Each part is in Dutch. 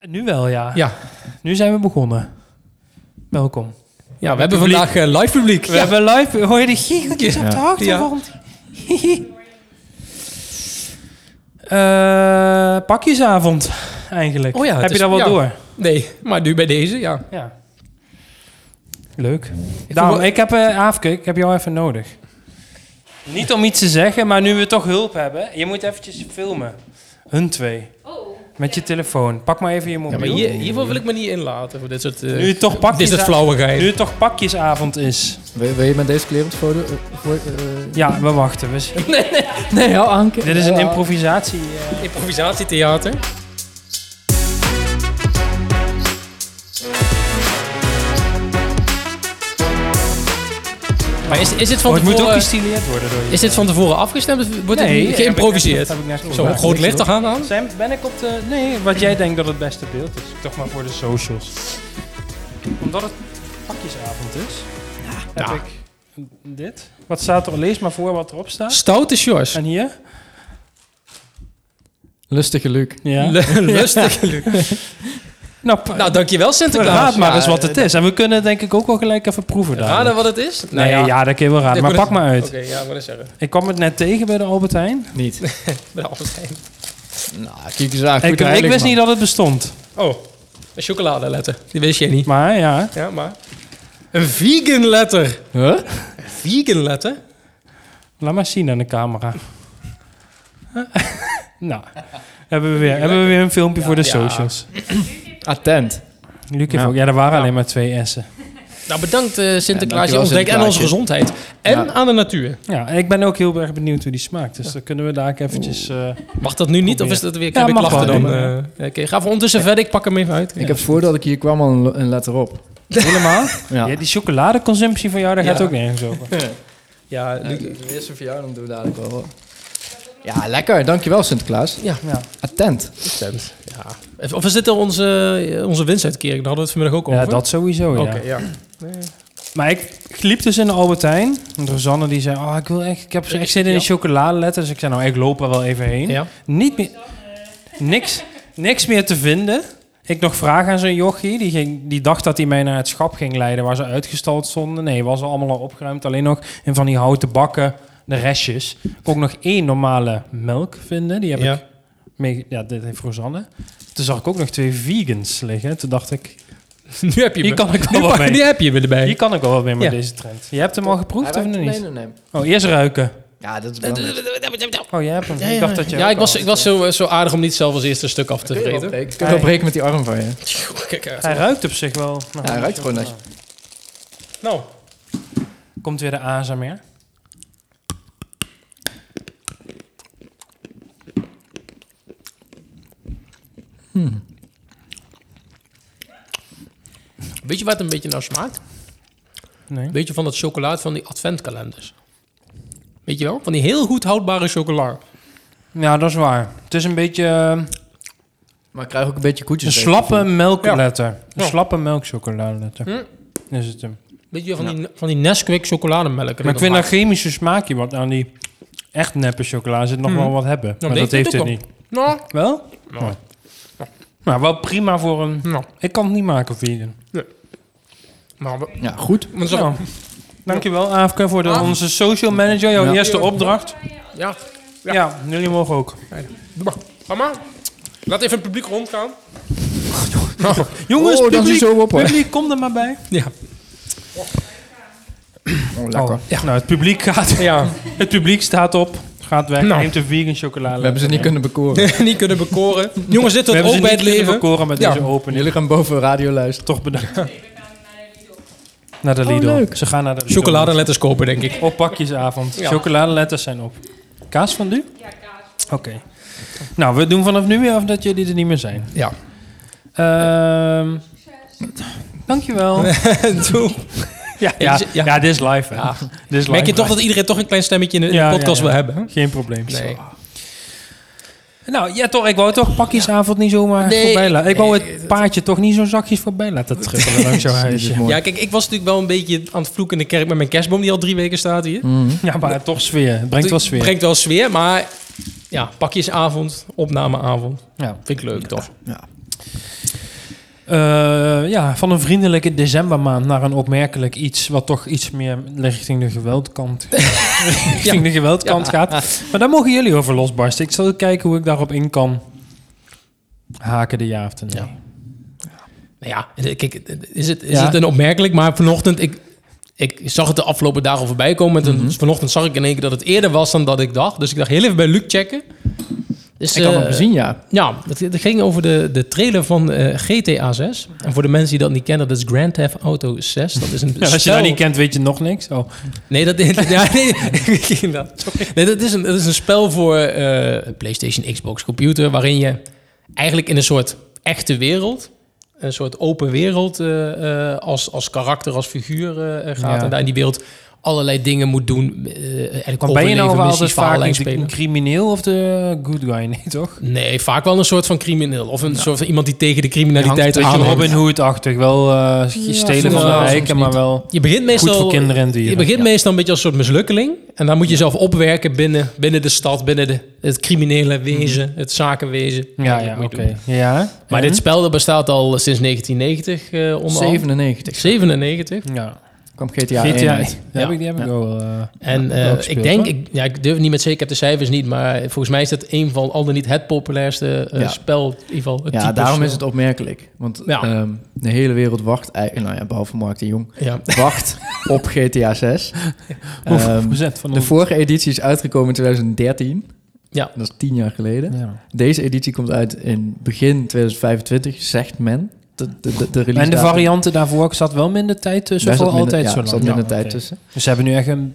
Nu wel, ja. Ja. Nu zijn we begonnen. Welkom. Ja, we hebben vandaag eh, live publiek. We hebben live... Hoor je die giecheltjes op de Ja. achtergrond? Eh, pakjesavond, eigenlijk. Oh ja, het Heb je is- dat wel ja. door? Nee, maar nu bij deze, ja. Ja. Leuk. Daarom, voel me- ik heb... eh Aafke, ik heb jou even nodig. Niet om iets te zeggen, maar nu we toch hulp hebben... Je moet eventjes filmen. Hun twee. Oh, Met je telefoon. Pak maar even je ja mobiel. maar hier, hiervoor wil ik me niet inlaten. Voor dit soort. eh, Nu het toch pakjes- Dit is het flauwigheid. Nu het toch pakjesavond is. Wil, wil je met deze kleren op het foto? eh, voor- eh, Ja, we wachten. We zien. Nee, ja, Anke. Dit is een improvisatie. eh. improvisatietheater. Maar is, is, dit van het moet ook tevoren, gestileerd worden door je. is dit van tevoren afgestemd? of Wordt Nee, het nu eh, geïmproviseerd? heb ik net- heb ik net Zo'n gevraagd. groot licht te gaan aan? Sam, ben ik op de... Nee, wat jij denkt dat het beste beeld is. Toch maar voor de socials. Omdat het pakjesavond is, heb Ja. ik dit. Wat staat er? Lees maar voor wat erop staat. Stoute Sjors. En hier? Lustige Luc. Ja. Lu- Lustig. nou, Nou, dankjewel Sinterklaas. raad maar Ja, eens wat het is. En we kunnen het denk ik ook wel gelijk even proeven daar. Raden wat het is? Nou Nee, ja. dat kun je wel raden. Ik Maar wou pak net- maar uit. Oké, ja, wat is er? Ik kwam het net tegen bij de Albert Heijn. Niet. Nou, wat is er? nou, kijk eens aan. Ik, goed ik eigenlijk, wist man. niet dat het bestond. Oh, een chocoladeletter. Die wist je niet. Maar ja, Ja, maar... Een vegan letter. Huh? Vegan letter? laat maar zien aan de camera. nou, hebben we weer, hebben we weer een filmpje voor de ja. socials. Attent. Luc heeft ook- ja, er waren alleen maar twee S'en. Nou, bedankt eh, Ja, Sinterklaas. dankjewel, je ontdekt en onze Sinterklaasje. gezondheid. En Ja. aan de natuur. Ja, en ik ben ook heel erg benieuwd hoe die smaakt. Dus dan kunnen we daar ook eventjes... eh, Mag dat nu niet? Of is dat weer Ja, heb ik mag klachten wel. dan? eh Oké, ga voor ondertussen verder. Ik pak hem even uit. Ik heb voordat ik hier kwam al een, een letter op. helemaal? Ja. Ja, die chocoladeconsumptie van jou, daar gaat Ja. ook nergens over. Ja, Luc- de eerste voor jou, dan doen we dadelijk wel. hoor. Ja, lekker. Dankjewel Sinterklaas. Ja. Ja. Attent. ja. Of is dit al onze, eh, onze winstuitkering? Daar hadden we het vanmiddag ook over. Ja, dat sowieso, ja. Oké, ja. Maar ik liep dus in de Albertijn. En Rosanne die zei, oh, ik, wil echt, ik heb zo echt zin in Ja. een chocoladeletter. Dus ik zei, nou, ik loop er wel even heen. ja. Niet meer, niks, niks meer te vinden. Ik nog vragen aan zo'n jochie. Die, ging, die dacht dat hij mij naar het schap ging leiden waar ze uitgestald stonden. Nee, was al allemaal al opgeruimd. Alleen nog in van die houten bakken, de restjes. Ik kon ook nog één normale melk vinden. Die heb ik ja. mee, ja, dit heeft Rosanne. Toen zag ik ook nog twee vegans liggen. Toen dacht ik, Nu heb je hier me. kan ik Nu wel wat pak- mee. nu heb je me erbij. Hier kan ik wel wat mee met Ja. deze trend. Je hebt hem al geproefd of nog niet? Nee, nee, nee. Oh, eerst ruiken. Ja, dat is belangrijk. Oh, jij hebt hem. Ik dacht dat je Ja, ook ik was, al- ik was zo, zo aardig om niet zelf als eerste een stuk af te vreten. Ik kan wel breken met die arm van je. Kijk eh, uit. Hij ruikt op zich wel. Nou, hij ruikt gewoon nou. Nou, Komt weer de ASMR. weet je wat een beetje nou smaakt? Nee. Een beetje van dat chocolaat van die adventkalenders. Weet je wel? Van die heel goed houdbare chocola. Ja, dat is waar. Het is een beetje eh, Maar ik krijg ook een beetje koetjes. een slappe melkletter. Een Ja. slappe melkchocoladeletter. Hm. Is het hem. Weet je wel, van, die, van die Nesquik chocolademelk. Maar ik vind dat chemische smaakje wat aan die echt neppe chocola zit nog wel wat hebben. Dan maar dat deed heeft het dit ook niet. Nou, Wel? nou, Maar wel prima voor een... nou. Ik kan het niet maken, vegan. Maar we- Ja, goed. we Nou, zeggen- dankjewel Aafke voor de, Ah. onze social manager, jouw Ja. eerste opdracht. Ja, Ja. jullie mogen ook. doe maar. Mama, laat even het publiek rondgaan. Jongens, Oh, dan is hij publiek, zo op, hoor. publiek, kom er maar bij. Ja. Oh, lekker. Oh, Nou, het publiek gaat... ja. Het publiek staat op, gaat weg, Nou. neemt een vegan chocolade. We hebben ze niet kunnen bekoren. niet kunnen bekoren. Jongens, dit We tot hebben ook ze bij niet het kunnen leven. bekoren met Ja. deze opening. Jullie gaan boven radio luisteren. Toch bedankt. Naar de Lidl. Ze gaan naar de Lidl. Chocoladeletters kopen, denk ik. Op pakjesavond. Ja. Chocoladeletters zijn op. Kaas van du? ja, kaas. Oké. Nou, we doen vanaf nu weer af dat jullie er niet meer zijn. Ja. Ehm dankjewel. Doe. Ja, ja, Ja. ja. dit is live. Hè. Ja. Dit is live. Merk je toch dat iedereen toch een klein stemmetje in de in de Ja, podcast ja, wil ja. hebben? hè? Geen probleem. Nee. Nou, ja toch, ik wou toch pakjesavond niet zomaar Nee. voorbij laten. Ik wou Nee, het paardje toch niet zo zachtjes voorbij laten trippelen langs jouw huisje. mooi. Ja, kijk, ik was natuurlijk wel een beetje aan het vloeken in de kerk met mijn kerstboom die al drie weken staat hier. Ja, maar toch sfeer. Het brengt wel sfeer. Brengt wel sfeer, maar ja, pakjesavond, opnameavond. Ja. Vind ik leuk, toch? Ja. Eh, ja, van een vriendelijke decembermaand naar een opmerkelijk iets... wat toch iets meer richting de geweldkant, richting de geweldkant gaat. Maar daar mogen jullie over losbarsten. Ik zal kijken hoe ik daarop in kan haken de ja of de nee. Ja. Nou ja, kijk, is het, is Ja. het een opmerkelijk, maar vanochtend, ik, ik zag het de afgelopen dagen voorbij komen. En toen- Mhm. vanochtend zag ik in één keer dat het eerder was dan dat ik dacht. Dus ik dacht heel even bij Luc checken. Dus, Ik had eh, hem gezien, ja. Ja, het, het ging over de, de trailer van eh, GTA 6. En voor de mensen die dat niet kennen, dat is Grand Theft Auto 6. Dat is een Ja, als je spel- dat niet kent, weet je nog niks. Oh. Nee, dat, ja, nee, ik ging dat- nee, dat, is een, dat is een spel voor eh, PlayStation, Xbox, computer... waarin je eigenlijk in een soort echte wereld... een soort open wereld eh, eh, als, als karakter, als figuur eh, eh, gaat... Ja. en daar in die wereld allerlei dingen moet doen. eh eigenlijk Want ben je nou wel overleven, missies, altijd vaak verhaallijn de- spelen. een crimineel of de good guy? Nee, toch? Nee, vaak wel een soort van crimineel. Of een soort van iemand die tegen de Nou. Hangt een criminaliteit beetje aanhangt. Robin Hood-achtig. Wel eh, stelen van de soms wel, soms rijken, maar niet. wel Je begint meestal... goed voor kinderen en dieren. Je begint Ja. meestal een beetje als een soort mislukkeling. En dan moet je zelf opwerken binnen, binnen de stad, binnen de, het criminele wezen, het zakenwezen. Mhm. Ja, Dat ja, moet je oké. Mhm. doen. Ja. Maar En? dit spel dat bestaat al sinds 1990 eh onder andere. 97 97. Ja. kwam GTA, GTA. 1 uit. Die heb ik, die heb ik Ja. wel. eh, En eh, wel ik gespeeld, denk, hoor. ik, ja, ik durf niet met zekerheid de cijfers niet, maar volgens mij is dat een van, al dan niet het populairste eh, Ja. spel. In ieder geval het Ja, type daarom spel. is het opmerkelijk. Want Ja. ehm, de hele wereld wacht eigenlijk... Nou ja, behalve Mark de Jong. Ja. Wacht op GTA 6. Hoeveel Ehm, procent van de vorige editie is uitgekomen in 2013. Ja. Dat is tien jaar geleden. Ja. Deze editie komt uit in begin 2025, zegt men. De, de, de, de release En de datum. varianten daarvoor zat wel minder tijd tussen. Daar Of zat wel minder- altijd ja, zo lang. er zat minder Ja, tijd oké. tussen. Dus ze hebben nu echt een,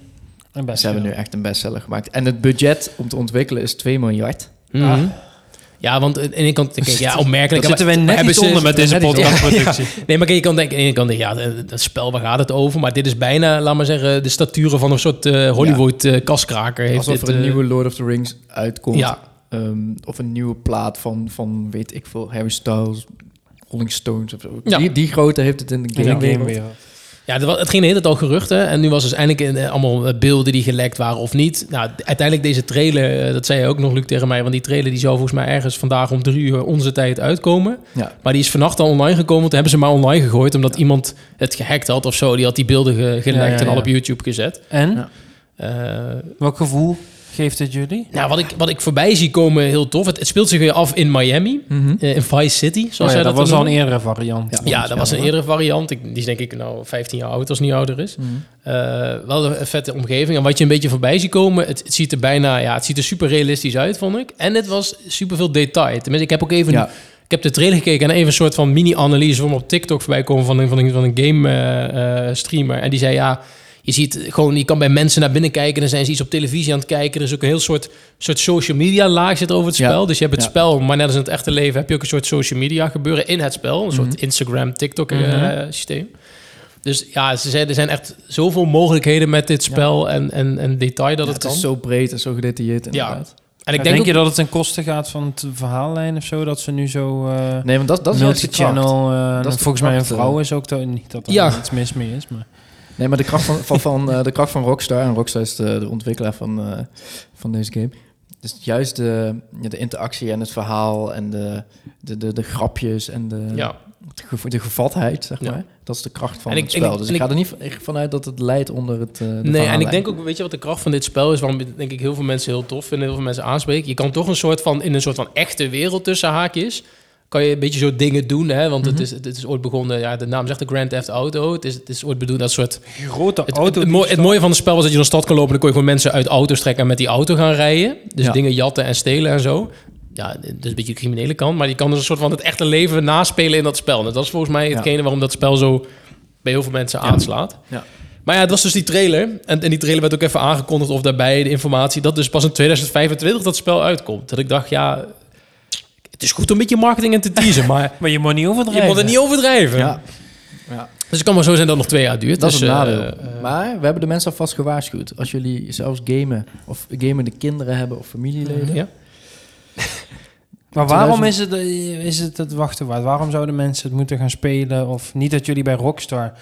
een best. Ze hebben nu echt een bestseller gemaakt. En het budget om te ontwikkelen is 2 miljard. Mhm. Ja, want aan de ene kant, kijk, ja, opmerkelijk. Daar maar- zitten we net hebben iets ze- onder met deze hebben ze- podcastproductie. Nee, maar kijk, je kan denken, aan de ene kant, denk je, ja, dat- dat spel, waar gaat het over? Maar dit is bijna, laat maar zeggen, de staturen van een soort eh, Hollywood eh, kaskraker. Heeft Alsof dit, er een eh, nieuwe Lord of the Rings uitkomt. Ja. Ehm, of een nieuwe plaat van, van, weet ik veel, Harry Styles, Rolling Stones of zo. Ja. Die, die grote heeft het in de In game. de gamewereld. Ja, er wa- het ging de hele tijd al geruchten. En nu was dus eindelijk eh, allemaal eh, beelden die gelekt waren of niet. Nou, d- uiteindelijk deze trailer, eh, dat zei je ook nog, Luc, tegen mij. Want die trailer die zou volgens mij ergens vandaag om drie uur onze tijd uitkomen. Ja. Maar die is vannacht al online gekomen. Want hebben ze maar online gegooid. Omdat iemand het gehackt had of zo. Die had die beelden ge- gelekt Ja, ja, en al ja. op YouTube gezet. En? Ja. Eh, Welk gevoel geeft het jullie? Nou, wat ik, wat ik voorbij zie komen, heel tof. Het, het speelt zich weer af in Miami, Mhm. eh, in Vice City, zoals Oh ja, jij dat dat, was dan al een noemt. eerdere variant. Ja. Ja, dat was een eerdere variant. Ik, die is denk ik nou 15 jaar oud, als het niet ouder is. Mhm. Eh, wel een vette omgeving. En wat je een beetje voorbij ziet komen, het, het ziet er bijna, ja, het ziet er super realistisch uit, vond ik. En het was super veel detail. Tenminste, ik heb ook even, Ja. ik heb de trailer gekeken en even een soort van mini-analyse van op TikTok voorbij komen van een, van een, van een game eh, eh, streamer. En die zei, ja, je ziet gewoon, je kan bij mensen naar binnen kijken, dan zijn ze iets op televisie aan het kijken. Er is ook een heel soort, soort social media laag zit over het Ja. spel. Dus je hebt het Ja. spel, maar net als in het echte leven heb je ook een soort social media gebeuren in het spel. Een soort Instagram, TikTok eh, Mhm. systeem. Dus ja, ze zeiden, er zijn echt zoveel mogelijkheden met dit spel en, en, en detail dat Ja, het het kan. is zo breed en zo gedetailleerd inderdaad. en denk, ik denk, ook, je dat het ten koste gaat van het verhaallijn of zo? Dat ze nu zo eh Nee, want dat, dat is juist de kracht. multi-channel... eh, is de volgens mij een kracht, eh. vrouw is ook... dat- Niet dat er Ja. iets mis mee is, maar... Nee, maar de kracht van, van, van, eh, de kracht van Rockstar. En Rockstar is de, de ontwikkelaar van, eh, van deze game. Dus juist de, ja, de interactie en het verhaal en de, de, de, de grapjes en de, ja. de, gev- de gevatheid, zeg Ja. maar. Dat is de kracht van En ik- het spel. en ik- dus en ik ga ik- er niet van- echt vanuit dat het leidt onder het eh, de Nee, en verhaallijn. ik denk ook, weet je wat de kracht van dit spel is, waarom denk ik heel veel mensen heel tof vinden, heel veel mensen aanspreken. Je kan toch een soort van, in een soort van echte wereld tussen haakjes, kan je een beetje zo dingen doen, hè, want Mhm. het, is, het is ooit begonnen, ja, de naam zegt de Grand Theft Auto, het is, het is ooit bedoeld dat soort Grote Het, het, mooi- het mooie van het spel was dat je door de stad kon lopen... en dan kon je gewoon mensen uit auto's trekken en met die auto gaan rijden. Dus Ja. dingen jatten en stelen en zo. Ja, dat is een beetje de criminele kant. Maar je kan dus een soort van het echte leven naspelen in dat spel. En dat is volgens mij Ja. hetgene waarom dat spel zo bij heel veel mensen aanslaat. Ja. Maar ja, het was dus die trailer. En, en die trailer werd ook even aangekondigd of daarbij de informatie... dat dus pas in 2025 dat spel uitkomt. Dat ik dacht, ja... Het is goed om een beetje marketing en te teasen, maar... Maar je moet niet Je overdrijven. moet het niet overdrijven. Ja, ja. Dus het kan maar zo zijn dat het nog twee jaar duurt. Dat is Dus, het eh, nadeel. eh, maar we hebben de mensen alvast gewaarschuwd. Als jullie zelfs gamen of gamende kinderen hebben of familieleden. ja. Maar waarom 2000 is het, eh, is het het wachten waard? Waarom zouden mensen het moeten gaan spelen? Of niet dat jullie bij Rockstar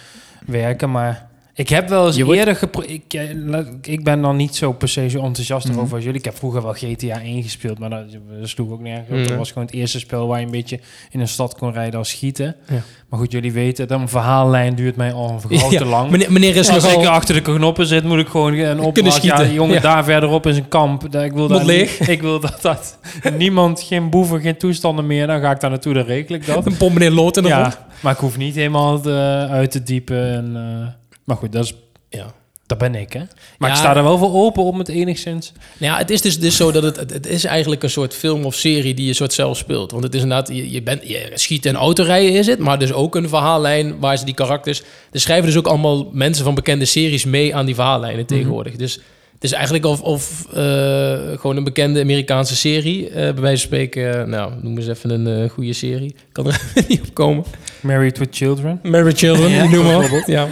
werken, maar... Ik heb wel eens Je wordt- eerder gepro- ik, eh, la- ik ben dan niet zo per se zo enthousiast Mhm. over als jullie. Ik heb vroeger wel GTA 1 gespeeld, maar dat, dat sloeg ook nergens op. Mhm. Dat was gewoon het eerste spel waar je een beetje in een stad kon rijden als schieten. Ja. Maar goed, jullie weten, dat een verhaallijn duurt mij al een vergroot Ja, te lang. Meneer, meneer is als ik nogal... achter de knoppen zit, moet ik gewoon een opdracht. Ja, schieten. die jongen Ja. daar verderop is een kamp. Daar- Ik wil, Moet daar niet- ik wil dat, dat niemand, geen boeven, geen toestanden meer. Dan ga ik daar naartoe, dan regel ik dat. Een pomp meneer Loot in de Ja, grond. maar ik hoef niet helemaal het, eh, uit te diepen. En, eh, maar goed, dat, is, Ja. dat ben ik, hè? Maar Ja. ik sta er wel voor open om het enigszins. Nou ja, het is dus, dus zo dat het, het, het is eigenlijk een soort film of serie die je soort zelf speelt. Want het is inderdaad, je, je, bent, je schiet en autorijden is het, maar dus ook een verhaallijn waar ze die karakters... Er schrijven dus ook allemaal mensen van bekende series mee aan die verhaallijnen tegenwoordig. Dus het is eigenlijk of, of eh, gewoon een bekende Amerikaanse serie, eh, bij wijze van spreken. eh, nou, noem eens even een eh, goede serie. Kan er niet op komen. Married with Children. Married Children, Ja, ik noem maar op. Ja. nou,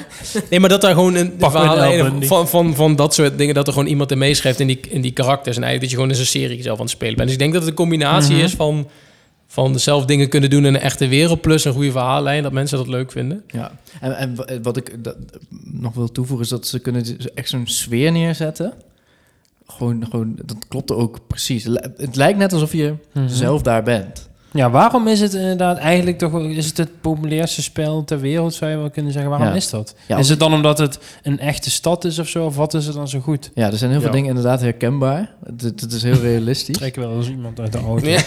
Nee, maar dat daar gewoon een Pak verhaal- me een L. Bundy. van, van, van dat soort dingen... dat er gewoon iemand in meeschrijft in die, in die karakters. En eigenlijk dat je gewoon in zo'n serie zelf aan het spelen bent. Dus ik denk dat het een combinatie Mhm. is van, van zelf dingen kunnen doen... in een echte wereld plus een goede verhaallijn. Dat mensen dat leuk vinden. Ja, en, en wa- eh, wat ik dat- nog wil toevoegen is dat ze kunnen dus echt zo'n sfeer neerzetten. Gewoon, gewoon, dat klopt ook precies. Li- Het lijkt net alsof je Mhm. Mhm. zelf daar bent. Ja, waarom is het inderdaad eigenlijk toch is het, het populairste spel ter wereld, zou je wel kunnen zeggen? Waarom Ja. is dat? Ja, is het dan omdat het een echte stad is of zo? Of wat is het dan zo goed? Ja, er zijn heel veel Ja. dingen inderdaad herkenbaar. Het, het- het is heel realistisch. Trek wel eens iemand uit de auto. Ja,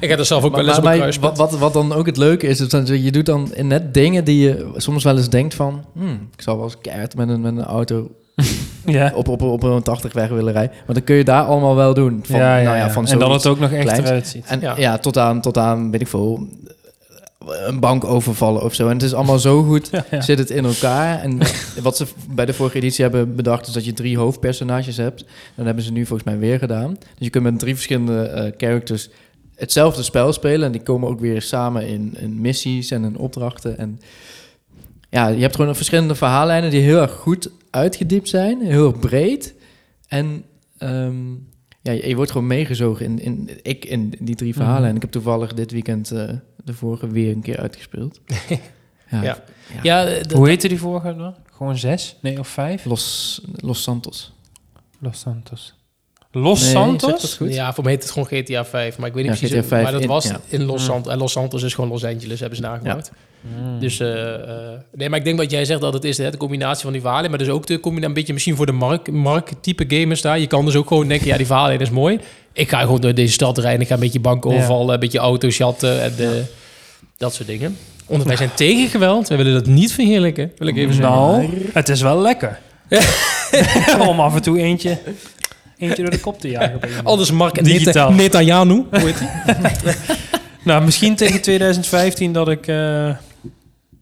ik heb er zelf ook wel eens op Maar- een maar kruispunt. wat, wat, wat dan ook het leuke is, is dat je doet dan net dingen die je soms wel eens denkt van... hmm, ik zou wel eens keihard met een, met een auto Ja. op, op, op een 80 weg willen rijden. Maar dan kun je daar allemaal wel doen. Van, ja, ja, nou ja, ja. van en dat zoiets. het ook nog echt kleins. eruit ziet. En Ja. ja, tot, aan, tot aan, weet ik veel, een bank overvallen of zo. En het is allemaal zo goed, Ja, ja. zit het in elkaar. En wat ze bij de vorige editie hebben bedacht, is dat je drie hoofdpersonages hebt. Dat hebben ze nu volgens mij weer gedaan. Dus je kunt met drie verschillende eh, characters hetzelfde spel spelen. En die komen ook weer samen in, in missies en in opdrachten. En ja, je hebt gewoon verschillende verhaallijnen die heel erg goed uitgediept zijn. Heel erg breed. En... ehm, ja, je, je wordt gewoon meegezogen in, in, ik, in die drie verhalen. Mhm. En ik heb toevallig dit weekend eh, de vorige weer een keer uitgespeeld. ja. Ja. Ja, eh, dat- Hoe heette die vorige dan? Gewoon zes? Nee, of vijf? Los, Los Santos. Los Santos. Los Nee, zeg Santos? dat goed? Ja, voor mij heet het gewoon GTA 5, maar ik weet Ja, niet precies. GTA vijf maar dat in- was ja. Mhm. in Los Mm. Santos. En Los Santos is gewoon Los Angeles, hebben ze nagemaakt. Mm. Dus eh, eh, nee, maar ik denk wat jij zegt dat het is hè, de combinatie van die verhalen, maar dus ook de combinatie een beetje misschien voor de markt, markttype gamers daar. Je kan dus ook gewoon denken, ja, die verhalen is mooi. Ik ga gewoon door deze stad rijden, ik ga een beetje banken Ja. overvallen, een beetje auto's jatten en eh, dat soort dingen. Omdat wij zijn tegen geweld, wij willen dat niet verheerlijken, wil ik even zeggen. nou, het is wel lekker. Om af en toe eentje, eentje door de kop te jagen. bij iemand. Anders Mm. dus Mark Digitaal. Net Netanyahu, hoe heet die? Nou, misschien tegen 2015 dat ik... eh,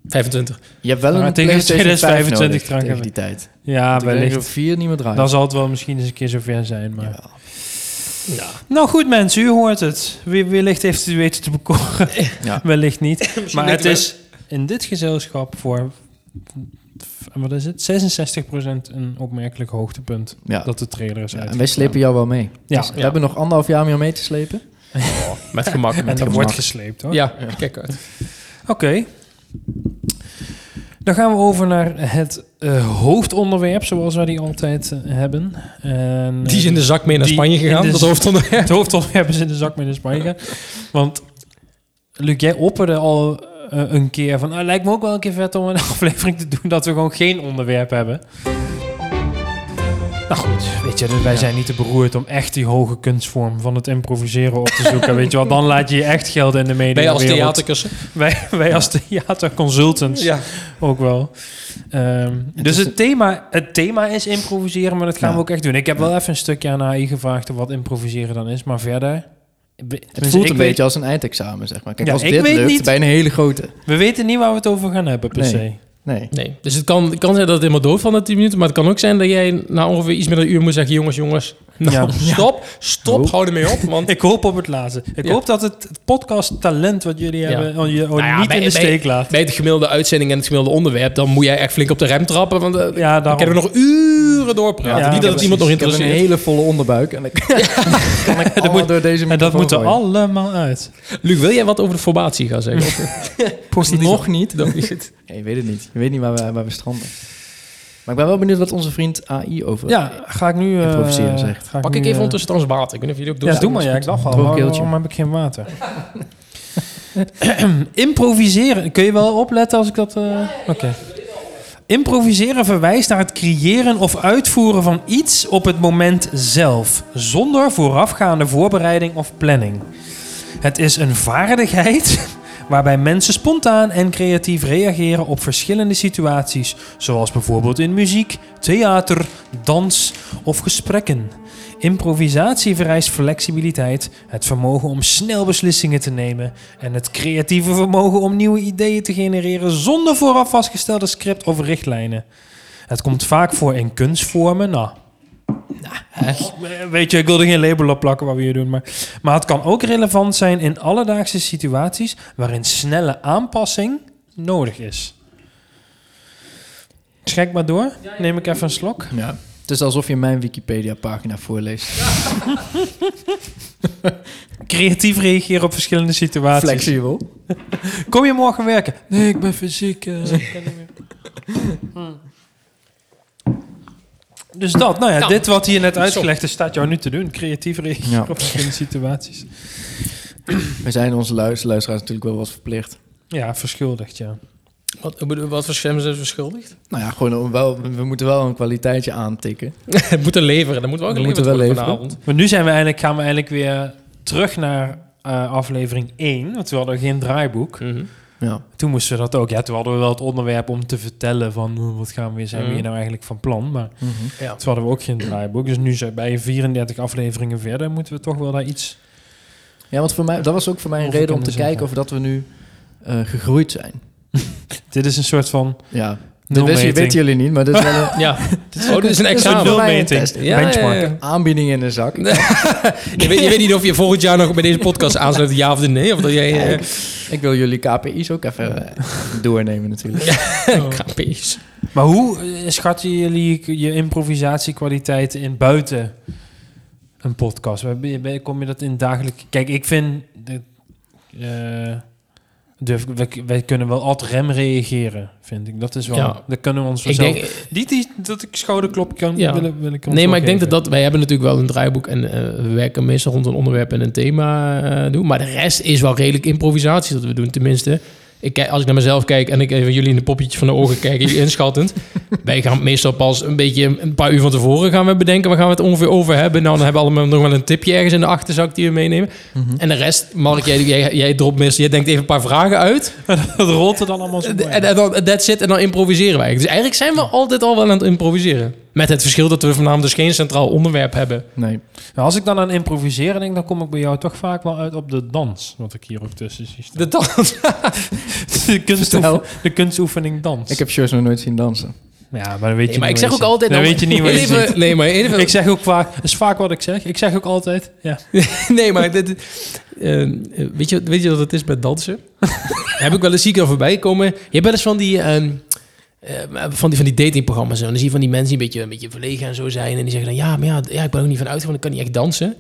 25. Je hebt wel Maar een tegen PlayStation 5 2025 nodig drank tegen hebben. die tijd. ja, Want ik weet niet wellicht. of vier niet meer draaien. Dan zal het wel misschien eens een keer zover zijn. Maar... Jawel. Ja. Nou goed mensen, u hoort het. Wie- Wellicht heeft u het weten te bekoren. Ja. Wellicht niet. maar het denken we- is in dit gezelschap voor... Wat is het? 66% een opmerkelijk hoogtepunt. Ja. Dat de trailer is Ja, uit. en wij slepen jou wel mee. Ja. Dus we Ja. hebben nog anderhalf jaar om jou mee te slepen. Met gemak. En dat gemak. wordt gesleept hoor. Ja, kijk uit. Oké. Dan gaan we over naar het eh, hoofdonderwerp, zoals wij die altijd eh, hebben. En, Die is in de zak mee naar Die Spanje in gegaan, de dat zak. hoofdonderwerp. Het hoofdonderwerp is in de zak met de Spanje. gaan. Want Luc, jij opperde al eh, een keer van... "Ah, lijkt me ook wel een keer vet om een aflevering te doen... dat we gewoon geen onderwerp hebben. Nou goed, weet je, dus wij zijn niet te beroerd... om echt die hoge kunstvorm van het improviseren op te zoeken. weet je wel, dan laat je je echt geld in de Ben je als mediawereld. theaterkussen? Wij, wij als theaterconsultants ook wel. Ehm, dus is het een- thema, het thema is improviseren, maar dat gaan Ja. we ook echt doen. Ik heb wel even een stukje aan AI gevraagd wat improviseren dan is, maar verder... Het voelt een beetje als een eindexamen, zeg maar. Kijk, Ja, als ik dit weet lukt, niet- bij een hele grote. We weten niet waar we het over gaan hebben, per Nee. se. Nee. Nee, dus het kan, het kan zijn dat het helemaal dood van de 10 minuten, maar het kan ook zijn dat jij na ongeveer iets meer dan een uur moet zeggen, jongens, jongens, nou, Ja. stop, stop, Oh. hou ermee op, want Ik hoop op het laatste. Ik Ja. hoop dat het het podcast-talent wat jullie Ja. hebben... oh, je oh, Nou ja, niet bij- in de bij- steek laat. bij het gemiddelde uitzending en het gemiddelde onderwerp, dan moet jij echt flink op de rem trappen, want eh, Ja, dan daarom. kunnen we nog uren doorpraten. Ja, Niet dat het precies. iemand nog Ik heb een interesseert. hele volle onderbuik. En dan kan ik allemaal moet- door deze En dat moet er microfoon gooien. allemaal uit. Luc, wil jij wat over de formatie gaan zeggen? Nog niet. Nog niet. Nee, je weet het niet. Je weet niet waar we, waar we stranden. Maar ik ben wel benieuwd wat onze vriend AI over... Ja, ga ik nu... eh, Improviseren, zeg. ga ik Pak nu, ik even eh, ondertussen trouwens water. Ik weet niet of jullie ook doen. Ja, doe maar. Ja, ik dacht al. Doe een Waarom, keeltje. waarom heb ik geen water? Improviseren. Kun je wel opletten als ik dat... eh, Oké. Improviseren verwijst naar het creëren of uitvoeren van iets op het moment zelf, zonder voorafgaande voorbereiding of planning. Het is een vaardigheid waarbij mensen spontaan en creatief reageren op verschillende situaties, zoals bijvoorbeeld in muziek, theater, dans of gesprekken. Improvisatie vereist flexibiliteit, het vermogen om snel beslissingen te nemen en het creatieve vermogen om nieuwe ideeën te genereren zonder vooraf vastgestelde script of richtlijnen. Het komt vaak voor in kunstvormen. Nou, eh, weet je, ik wilde geen label op plakken wat we hier doen, maar, maar het kan ook relevant zijn in alledaagse situaties waarin snelle aanpassing nodig is. Schrik maar door. Neem ik even een slok. Ja. Het is alsof je mijn Wikipedia-pagina voorleest. Creatief reageren op verschillende situaties. Flexibel. Kom je morgen werken? Nee, ik ben fysiek... eh. Hmm. Dus dat, nou ja, Nou, dit wat hier net stop. uitgelegd is, staat jou nu te doen. Creatief reageren Ja. op verschillende situaties. We zijn onze luis- luisteraars natuurlijk wel wat verplicht. Ja, verschuldigd, ja. Wat, ik bedoel, wat voor schermen zijn ze verschuldigd? Nou ja, gewoon om wel, we moeten wel een kwaliteitje aantikken. Het moet er leveren. Dat moet wel We geleverd moeten wel worden leveren. vanavond. Maar nu zijn we eigenlijk, gaan we eigenlijk weer terug naar eh, aflevering 1, want we hadden geen draaiboek. Mhm. Ja. Toen moesten we dat ook. Ja, toen hadden we wel het onderwerp om te vertellen van "Oh, wat gaan we weer, zijn we Mhm. hier nou eigenlijk van plan. Maar Mhm. Ja. toen hadden we ook geen draaiboek. Dus nu zijn bij 34 afleveringen verder, moeten we toch wel daar iets... ja, want voor mij, dat was ook voor mij een Of we reden om kunnen te zeggen. kijken of dat we nu eh, gegroeid zijn. Dit is een soort van Ja, dat weten, nulmeting. jullie- weten jullie niet, maar dit is wel een ja. Oh, dit is een dit is examen. voor mij een Nulmeting. test. Ja, Benchmark. ja, ja. Aanbieding in de zak. Je, weet, je weet niet of je volgend jaar nog bij deze podcast aansluit, ja of nee. Of dat jij... eh, Ik wil jullie KPI's ook even eh, doornemen natuurlijk. oh. KPI's. Maar hoe eh, schatten jullie je improvisatiekwaliteit in buiten een podcast? Waar ben je- ben- Kom je dat in dagelijk? Kijk, ik vind. dit, eh, durf, ik- wij, wij kunnen wel ad rem reageren, vind ik. Dat is wel. Ja. Dat kunnen we ons Ik vanzelf- denk, Niet die, dat ik schouderklop kan. Ja. Wil, wil ik ons nee, wel maar ik denk dat, geven. dat wij hebben natuurlijk wel een draaiboek en eh, we werken meestal rond een onderwerp en een thema eh, doen. Maar de rest is wel redelijk improvisatie dat we doen. Tenminste, ik, kijk- als ik naar mezelf kijk en ik even jullie in de poppetjes van de ogen kijk, jullie inschattend. Wij gaan meestal pas een beetje een paar uur van tevoren gaan we bedenken. Waar gaan we het ongeveer over hebben? Nou, dan hebben we allemaal nog wel een tipje ergens in de achterzak die we meenemen. En de rest, Mark, jij, jij, jij dropt meestal, jij denkt even een paar vragen uit. dat rolt er dan allemaal zo. En, bij. en, Eh, en dan that's it, en dan improviseren wij. Dus eigenlijk zijn we altijd al wel aan het improviseren. Met het verschil dat we vanavond dus geen centraal onderwerp hebben. Nee. Nou, als ik dan aan improviseren denk, dan kom ik bij jou toch vaak wel uit op de dans. Wat ik hier ook tussen zie. staan. De dans. De, kunstoefen, de kunstoefening dans. Ik heb shows nog nooit zien dansen. Ja, maar dan weet je Nee, maar ik niet zeg wat ook je- altijd... Dan nou, weet je niet wat je even- ziet. Nee, maar even, Ik zeg ook vaak... Dat is vaak wat ik zeg. Ik zeg ook altijd... Ja. nee, maar dit, eh, eh, weet, je, weet je wat het is met dansen? Heb ik wel eens ziek al voorbij komen. Je hebt wel eens van die, ehm, eh, van die, van die datingprogramma's. En dan zie je van die mensen die een beetje, een beetje verlegen en zo zijn. En die zeggen dan, ja, maar ja, d- ja ik ben er ook niet van uitgegaan. Ik kan niet echt dansen. Nou,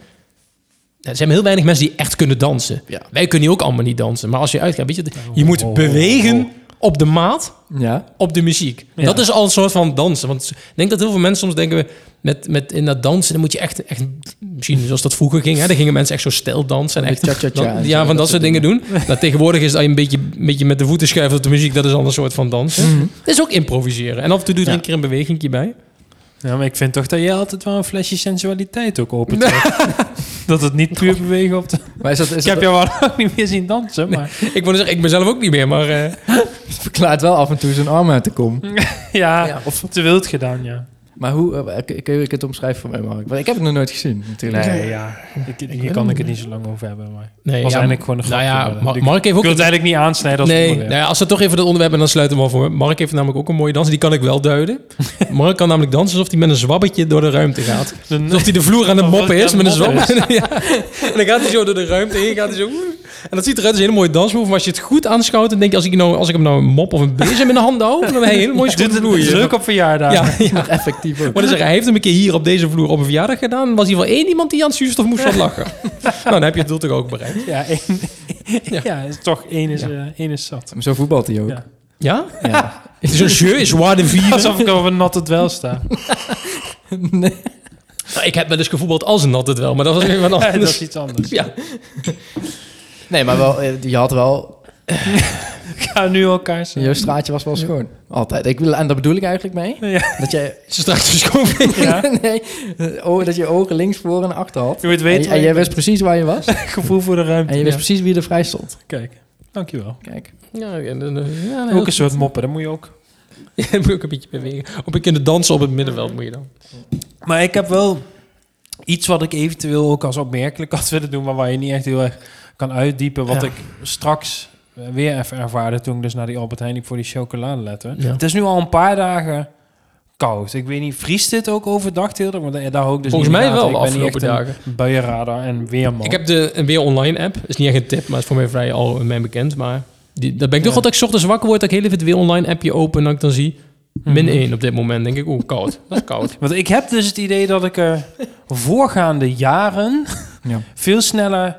er zijn maar heel weinig mensen die echt kunnen dansen. Ja. Wij kunnen hier ook allemaal niet dansen. Maar als je uitgaat, weet je, je moet bewegen op de maat Ja? op de muziek. Ja. Dat is al een soort van dansen. Want ik denk dat heel veel mensen soms denken... we Met, met in dat dansen, dan moet je echt, echt... Misschien zoals dat vroeger ging. Hè, dan gingen mensen echt zo stel dansen. En echt, Cha-cha-cha dan- en ja, zo, van dat, soort dingen doen. Nou, tegenwoordig is dat je een beetje, een beetje met de voeten schuiven op de muziek. Dat is al een soort van dansen. Dat is ook improviseren. En af en toe doe je er Ja. een keer een bewegingje bij. ja, maar ik vind toch dat jij altijd wel een flesje sensualiteit ook opent. dat het niet puur bewegen op de... Maar is dat, is Ik heb dat, jou wel lang niet meer zien dansen, maar... Ik wil zeggen, ik ben zelf ook niet meer, maar... eh, verklaart wel af en toe zijn arm uit de kom. Ja, Ja. of te wild gedaan, ja. Maar hoe, eh, kun- kun je het omschrijven voor mij, Mark? Want ik heb het nog nooit gezien, natuurlijk. ja. Ik, hier kan ik het niet zo lang over hebben, maar... nee, was ja, eigenlijk gewoon een nou grapje. ja, maar- Ma- ik, Mark heeft ik ook... wil het eigenlijk niet aansnijden als nee, onderwerp. nou ja, als we toch even het onderwerp en dan sluiten we af hoor. Mark heeft namelijk ook een mooie dans. Die kan ik wel duiden. Mark kan namelijk dansen alsof hij met een zwabbetje door de ruimte gaat. Dan- Alsof hij de vloer aan het Alsof moppen hij is aan met het een zwam. moppen ja. En dan gaat hij zo door de ruimte heen. Gaat hij zo, oeh. en dat ziet eruit als een hele mooie dansmove. Maar als je het goed aanschouwt, dan denk je... als ik, nou, als ik hem nou een mop of een bezem in de hand hou... dan heb je een hele mooie Dit schoenen is vloer. hier. druk op verjaardagen. Ja, ja. Effectief ook. Wat is er? Hij heeft hem een keer hier op deze vloer op een verjaardag gedaan. En was hier wel één iemand die aan het zuurstof moest van lachen. nou, dan heb je het doel toch ook bereikt. Ja, één, Ja. ja. is toch één is, Ja. eh, één is zat. Zo voetbalt hij ook. Ja. Ja? Ja. Het is een jeu, is waar de vier. Alsof ik over nat het wel sta. Nou, Ik heb wel eens gevoetbald als een nat het wel, maar dat was weer wat dat is anders. iets anders. Ja, Nee, maar wel, eh, je had wel... Ik ga nu elkaar zijn. Je straatje was wel schoon. Altijd. Ik, wil- en daar bedoel ik eigenlijk mee. Ja. Dat jij... ze straks dus gewoon Ja. nee, eh, oh, dat je ogen links, voor en achter had. Je moet En, weten, en jij je wist precies waar je was. En gevoel voor de ruimte. je wist Ja. precies wie er vrij stond. Kijk, dankjewel. Kijk. Ja, ja, dan- dan- ja, dan- Ook een soort moppen, dat moet je ook. Ja, dan moet je ook een beetje bewegen. Op een keer dansen op het middenveld moet je dan. Maar ik heb wel iets wat ik eventueel ook als opmerkelijk had willen doen, maar waar je niet echt heel erg kan uitdiepen. Wat Ja. ik straks eh, weer even ervaarde toen ik dus naar die Albert Heijn liep voor die chocolade letten. Ja. Het is nu al een paar dagen koud. Ik weet niet, vriest dit ook overdag heel erg? Want daar- daar hou ik dus Volgens niet in mij de wel de gaten. Ik ben niet afgelopen echt dagen. een Buienradar en weerman. Ik heb de een Weer Online app. Is niet echt een tip, maar is voor mij vrij algemeen bekend. Maar die, dat ben ik toch Ja. altijd 's ochtends wakker word. Dat ik heel even het Weer Online appje open. En dat ik dan zie min Mhm. 1 op dit moment. denk ik, oeh, koud. Dat is koud. Want ik heb dus het idee dat ik er voorgaande jaren Ja. veel sneller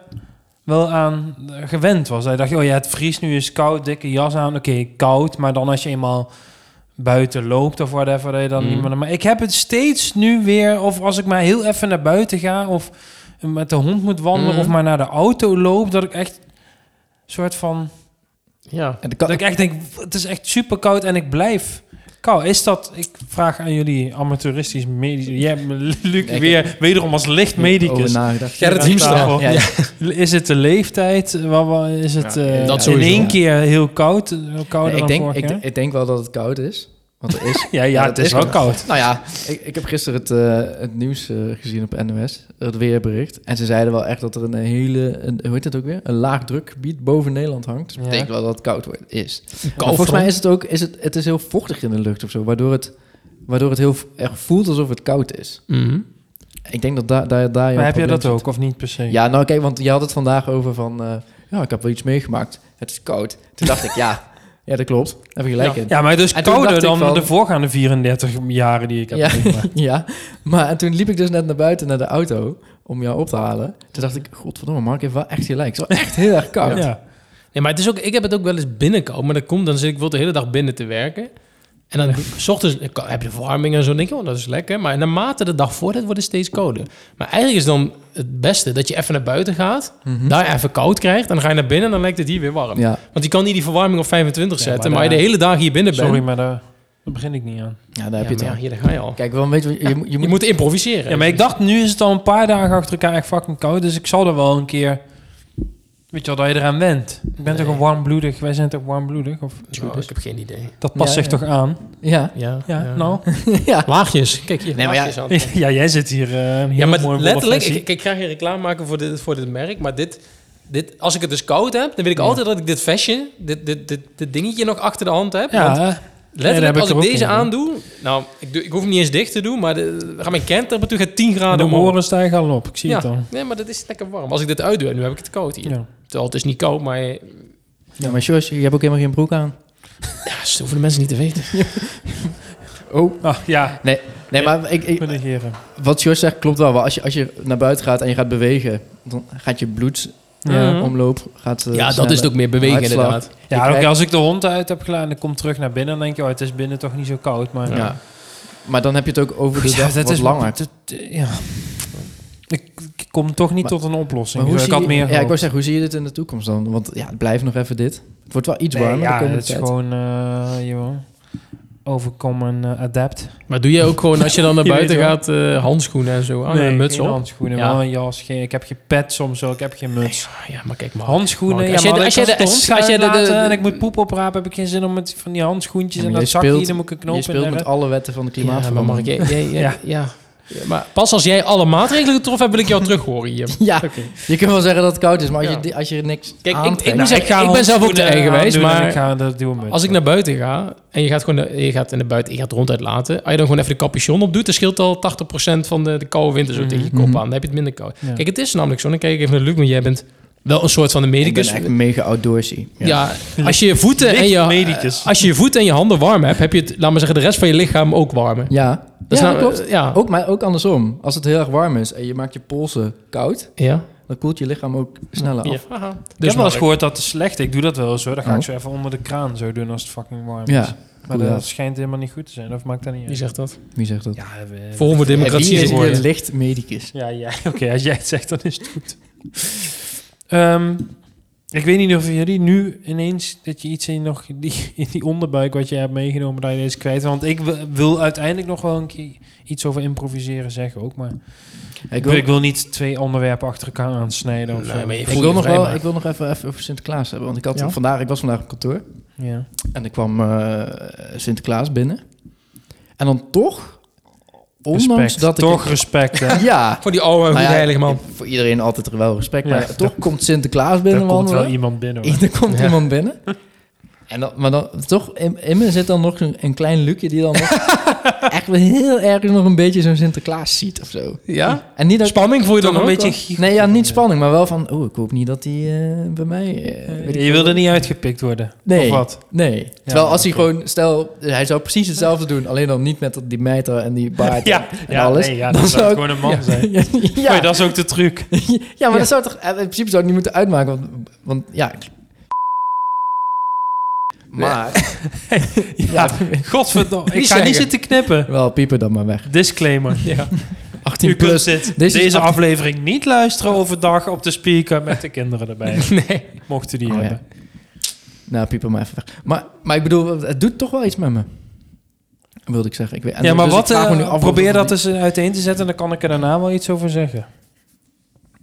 wel aan eh, gewend was. Hij dacht, oh ja, het vriest nu is koud, dikke jas aan. Oké, koud, maar dan als je eenmaal buiten loopt of whatever, dat je dan Mm. niet meer... Maar ik heb het steeds nu weer, of als ik maar heel even naar buiten ga... of met de hond moet wandelen Mm. of maar naar de auto loop... dat ik echt soort van... Ja. En de ka- Dat ik echt denk, het is echt super koud en ik blijf koud. Is dat, ik vraag aan jullie amateuristisch medici. Jij, hebt me, Luc, heb- weer wederom als over lichtmedicus. nagedacht. Gerrit Aan Hiemstra. tafel. Ja, nou. Is het de leeftijd? Wa- wa- Is het Ja, eh, dat in sowieso, één ja. keer heel koud? eh, Heel kouder Nee, dan ik, denk, vorig ik, jaar? ik denk wel dat het koud is. Want er is... ja, ja, Ja, het, dat is is wel wel. koud. nou ja, ik, ik heb gisteren het, eh, het nieuws eh, gezien op NOS. Het weerbericht. En ze zeiden wel echt dat er een hele... Een, hoe heet dat ook weer? Een laagdrukgebied boven Nederland hangt. Dus Ja. dat betekent wel dat het koud wordt, is. Maar Koud. volgens mij is het ook... Is het, het is heel vochtig in de lucht of zo. Waardoor het, waardoor het heel v- echt voelt alsof het koud is. Mhm. Ik denk dat daar daar daar jouw Maar heb je probleem dat zit. ook of niet per se? Ja, nou kijk, want je had het vandaag over van... eh, ja, ik heb wel iets meegemaakt. Het is koud. Toen dacht ik, ja, ja dat klopt. Daar heb je gelijk in. Ja, maar het is En toen kouder dacht dan ik van- de voorgaande 34 jaren die ik heb. Ja. meegemaakt. Ja, maar en toen liep ik dus net naar buiten naar de auto om jou op te halen. Toen dacht ik, godverdomme, Mark heeft wel echt gelijk. Het is wel echt heel erg koud. Ja. Ja. Nee, maar het is ook, ik heb het ook wel eens binnenkomen. Maar dat komt, dan zit ik wel de hele dag binnen te werken. En dan s ochtends ik kan- heb je verwarming en zo. Dan denk je, oh, dat is lekker. Maar naarmate de dag voordat wordt het steeds kouder. Maar eigenlijk is dan het beste dat je even naar buiten gaat. Mhm. Daar even koud krijgt. En dan ga je naar binnen en dan lijkt het hier weer warm. Ja. Want je kan niet die verwarming op 25 Ja, zetten. maar Maar, je daar- de hele dag hier binnen bent. Sorry, maar daar, daar begin ik niet aan. daar heb je het ja, al. maar ja, hier daar ga je al. Kijk, wel een beetje, je, moet- je je, moet... moet improviseren. Ja, maar ik dacht, nu is het al een paar dagen achter elkaar echt fucking koud. Dus ik zal er wel een keer... Weet je wel, dat je eraan went. Ik ben Nee. toch een warmbloedig... Wij zijn toch warmbloedig? Of, Ja, ik heb geen idee. dat past Ja, zich ja. toch aan? Ja. Ja, Ja, nou. ja. Laagjes. Kijk hier, Nee, maar ja, laagjes aan. ja, jij zit hier eh, een heel Ja, maar mooi letterlijk, wollenflesje. ik, ik ga geen reclame maken voor dit, voor dit merk, maar dit, dit, als ik het dus koud heb, dan weet ik Ja. altijd dat ik dit vestje, dit, dit, dit, dit dingetje nog achter de hand heb. Want ja, daar heb letterlijk, ik als er ik ook deze een, hè. aandoe, nou, ik, doe, ik hoef hem niet eens dicht te doen, maar de, ga mijn kerntemperatuur gaat 10 de graden omhoog. oren stijgen al op. Ik zie Ja, het al. nee, maar dat is lekker warm. Als ik dit uitdoe, nu heb ik het koud hier. Ja. Terwijl het is niet koud, maar eh, ja, maar George, je hebt ook helemaal geen broek aan. ja, dat hoeven de mensen niet te weten. Oh. Ah, ja, Nee, maar ik, ik, mijn heren. wat George zegt klopt wel. Maar als je, als je naar buiten gaat en je gaat bewegen, dan gaat je Ja. bloedomloop... gaat, eh, Ja, dat sneller. is het ook meer bewegen Hartslag. inderdaad. Mhm. Ja, Je oké, krijgt- als ik de hond uit heb gedaan en ik kom terug naar binnen... dan denk je, oh, het is binnen toch niet zo koud. Maar Ja. Maar dan heb je het ook over de Ja, dag wat langer. dat- ja. Ik, ik kom toch niet Maar- tot een oplossing. dus Maar hoe ik zie had je, meer ja, ik gehoopt. wou zeggen, hoe zie je dit in de toekomst dan? Want ja, het blijft nog even dit. Het wordt wel iets Nee, warmer de ja, komende het is tijd. gewoon eh, joh, overkomen eh, adapt. Maar doe je ook gewoon, als je dan naar Je weet buiten wel. gaat, eh, handschoenen en zo aan, en een muts geen op? handschoenen, Ja. wel een jas. Geen, ik heb geen pet soms ook, ik heb geen muts. Ja, maar kijk maar. Handschoenen, Mark, ja, als als jij je, de- als als je jij de- de, als jij de- de- en ik moet poep oprapen, heb ik geen zin om met van die handschoentjes Ja, en maar dat jij zakje, speelt- dan moet ik een knoop Je in speelt met hebben. alle wetten van de klimaatverandering. Ja, maar Mark, jij- jij- jij- Ja. ja. Ja, Maar pas als jij alle maatregelen getroffen hebt, wil ik jou terug horen hier. Ja, je kunt wel zeggen dat het koud is, maar als, Ja. je, di- als je niks Nou, Kijk, ik- aantrekt... Nou, ik moet zeggen, ga ik ben zelf ook te handschoenen eigenwijs, aandoen en maar ik ga dat doen met. Als ik nou- naar buiten ga en je gaat gewoon naar- je gaat in de buiten, je gaat ronduit laten. Als je dan gewoon even de capuchon op doet, dan scheelt al 80% van de, de koude winter zo Mhm. tegen je kop aan. Mhm. Dan heb je het minder koud. Ja. Kijk, het is namelijk zo. Dan kijk ik even naar Luc, want jij bent wel een soort van de ik ben medicus. echt mega outdoorsy. dus- ja. als je je voeten en Licht je, medicus. als je je voeten en je handen warm hebt, heb je het, laat maar zeggen, de rest van je lichaam ook warmer. ja. Dat is Ja, nou- klopt. Oh. Ja. Ook, maar ook andersom. Als het heel erg warm is en je maakt je polsen koud, ja. Dus dan dan koelt je lichaam ook sneller af. ik heb wel eens Mark, gehoord dat het slecht. Ik doe dat wel eens hoor. Dan ga ik Oh. zo even onder de kraan zo doen als het fucking warm Ja, is. Maar cool, dat ja. schijnt helemaal niet goed te zijn. Of maakt dat niet Wie uit? zegt dat? Wie zegt dat? Ja, we- Forum voor Democratie Wie is is hier een geworden. licht medicus? Ja, ja. oké. als jij het zegt, dan is het goed. Ehm, ik weet niet of jullie nu ineens dat je iets in, nog, die, in die onderbuik wat je hebt meegenomen, dat je deze kwijt. Want ik wil- wil uiteindelijk nog wel een keer iets over improviseren zeggen ook. Maar ik wil, ik wil niet twee onderwerpen achter elkaar aansnijden. Of Nee, zo. maar je- Ik Voel wil, nog vrij, wel, maar. ik wil nog even, even over Sinterklaas hebben. Want ik, had Ja? vandaag, ik was vandaag op kantoor ja. en ik kwam eh, Sinterklaas binnen. En dan toch, ondanks Respect. dat ik... Toch respect, hè? Ja. Voor die oude, Nou goede ja, heilige man. Voor iedereen altijd er wel respect. Ja. Maar toch komt Sinterklaas binnen Er komt wel wandelen. iemand binnen. hoor. Er komt Ja. iemand binnen. En dan, maar dan, toch, in, in me zit dan nog een, een klein Luukje die dan nog echt wel heel erg nog een beetje zo'n Sinterklaas ziet of zo. Ja? En niet dat ik- Spanning voel je dan Toch ook? een beetje... Nee, ja, niet spanning, maar wel van... Oh, ik hoop niet dat die eh, bij mij... eh, weet ik Je wilde niet uitgepikt worden. Nee. Of wat? Nee. Terwijl als hij gewoon, stel, hij zou precies hetzelfde doen, alleen dan niet met dat- die mijter en die baard Ja, en, en ja, alles. nee, ja, dan zou het ik- gewoon een man zijn. Ja, ja, Oei, dat is ook de truc. ja, maar dat zou toch, eh, in principe zou het niet moeten uitmaken, want, want ja. ik- Maar, ja, Godverdomme, ik Niet ga niet zeggen. zitten knippen. wel piepen dan maar weg. Disclaimer. Ja. 18 U kunt plus. dit, Deze deze, is acht- aflevering niet luisteren overdag op de speaker met de kinderen erbij. Nee. Mochten die Oh, ja. hebben. Nou, piepen maar even weg. Maar, maar ik bedoel, het doet toch wel iets met me. Wilde ik zeggen. Ik weet, en Ja, maar dus ik wat, vraag me nu eh, af of probeer het- dat eens uiteen te zetten, dan kan ik er daarna wel iets over zeggen.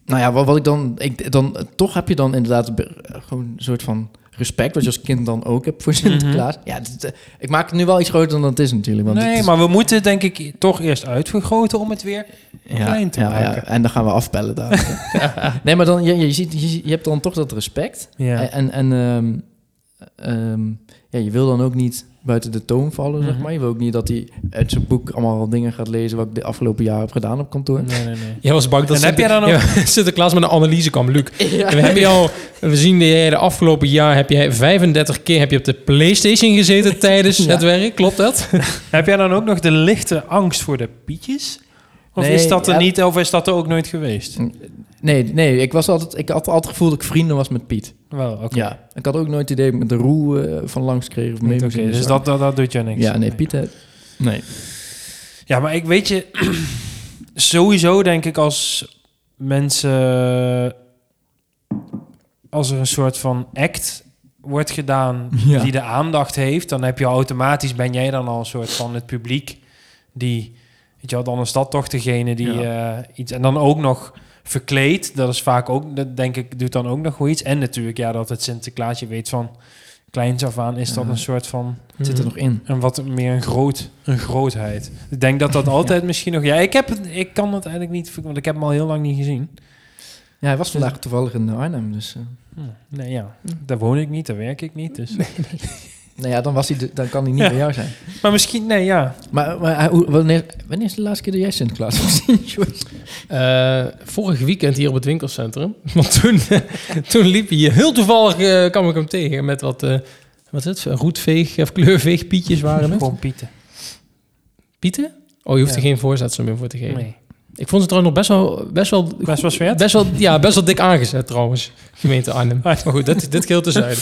Nou ja, wat, wat ik dan, ik, dan... Toch heb je dan inderdaad be- gewoon een soort van respect... wat je als kind dan ook hebt voor Sinterklaas. Ja, dit, eh, ik maak het nu wel iets groter dan het is natuurlijk. Want het Mhm. Nee, is- maar we moeten het denk ik toch eerst uitvergroten om het weer klein te maken. en dan gaan we afbellen daar. nee, maar dan, je, je, ziet, je, ziet- je hebt dan toch dat respect. Ja. En, en ehm, ehm, ja, je wil dan ook niet buiten de toon vallen, zeg Mhm. maar. Je wil ook niet dat hij uit zijn boek allemaal dingen gaat lezen... wat ik de afgelopen jaar heb gedaan op kantoor. Nee, nee, nee. Jij was bang dat En heb jij Sinter- dan ook- Ja, Sinterklaas met een analyse kwam, Luc. En We, hebben jou, we zien dat jij de afgelopen jaar heb jij 35 keer heb je op de PlayStation gezeten tijdens Ja. het werk. Klopt dat? Heb jij dan ook nog de lichte angst voor de pietjes? Of Nee, is dat er ja. niet, of is dat er ook nooit geweest? Nee, nee ik, was altijd, ik had altijd het gevoel dat ik vrienden was met Piet. Wel, oké. Ja. Ik had ook nooit het idee dat ik met de roe eh, van langs kreeg. Of mee Niet moest oké, in de dus zak. dat, dat, dat doet jou niks. Ja, nee, Piet... hè. Nee. Ja, maar ik weet je, sowieso denk ik als mensen, als er een soort van act wordt gedaan Ja. die de aandacht heeft, dan heb je automatisch, ben jij dan al een soort van het publiek die, weet je wel, dan is dat toch degene die eh, iets, en dan ook nog verkleed, dat is vaak ook, dat denk ik, doet dan ook nog wel iets. En natuurlijk, ja, dat het Sinterklaasje weet van kleins af aan, is dat Ja. een soort van... Het Hmm. zit er nog in. En wat meer een, groot, een grootheid. Ik denk dat dat altijd misschien nog... Ja, ik, heb het, ik kan het eigenlijk niet... ver- Want ik heb hem al heel lang niet gezien. Ja, hij Dus- was vandaag toevallig in Arnhem, dus... eh, Hm, Nee, ja. Daar woon ik niet, daar werk ik niet. Dus. nou ja, dan, was hij, de- dan kan hij niet Ja. bij jou zijn. Maar misschien... Nee, ja. Maar, maar hij- hoe- wanneer, wanneer is de laatste keer dat jij Sinterklaas hebt gezien, Joyce? Eh, vorig weekend hier op het winkelcentrum. Want toen, toen liep hij hier. Heel toevallig eh, kwam ik hem tegen met wat, eh, wat is het? Roetveeg of kleurveegpietjes waren het. Gewoon pieten. Pieten? Oh, je hoeft er Ja. geen voorzetsel meer voor te geven. Nee. Ik vond ze trouwens nog best wel, best wel Best wel zwert. Best wel, ja, best wel dik aangezet trouwens, gemeente Arnhem. Ah, Maar goed, dit, dit geldt te zuiden.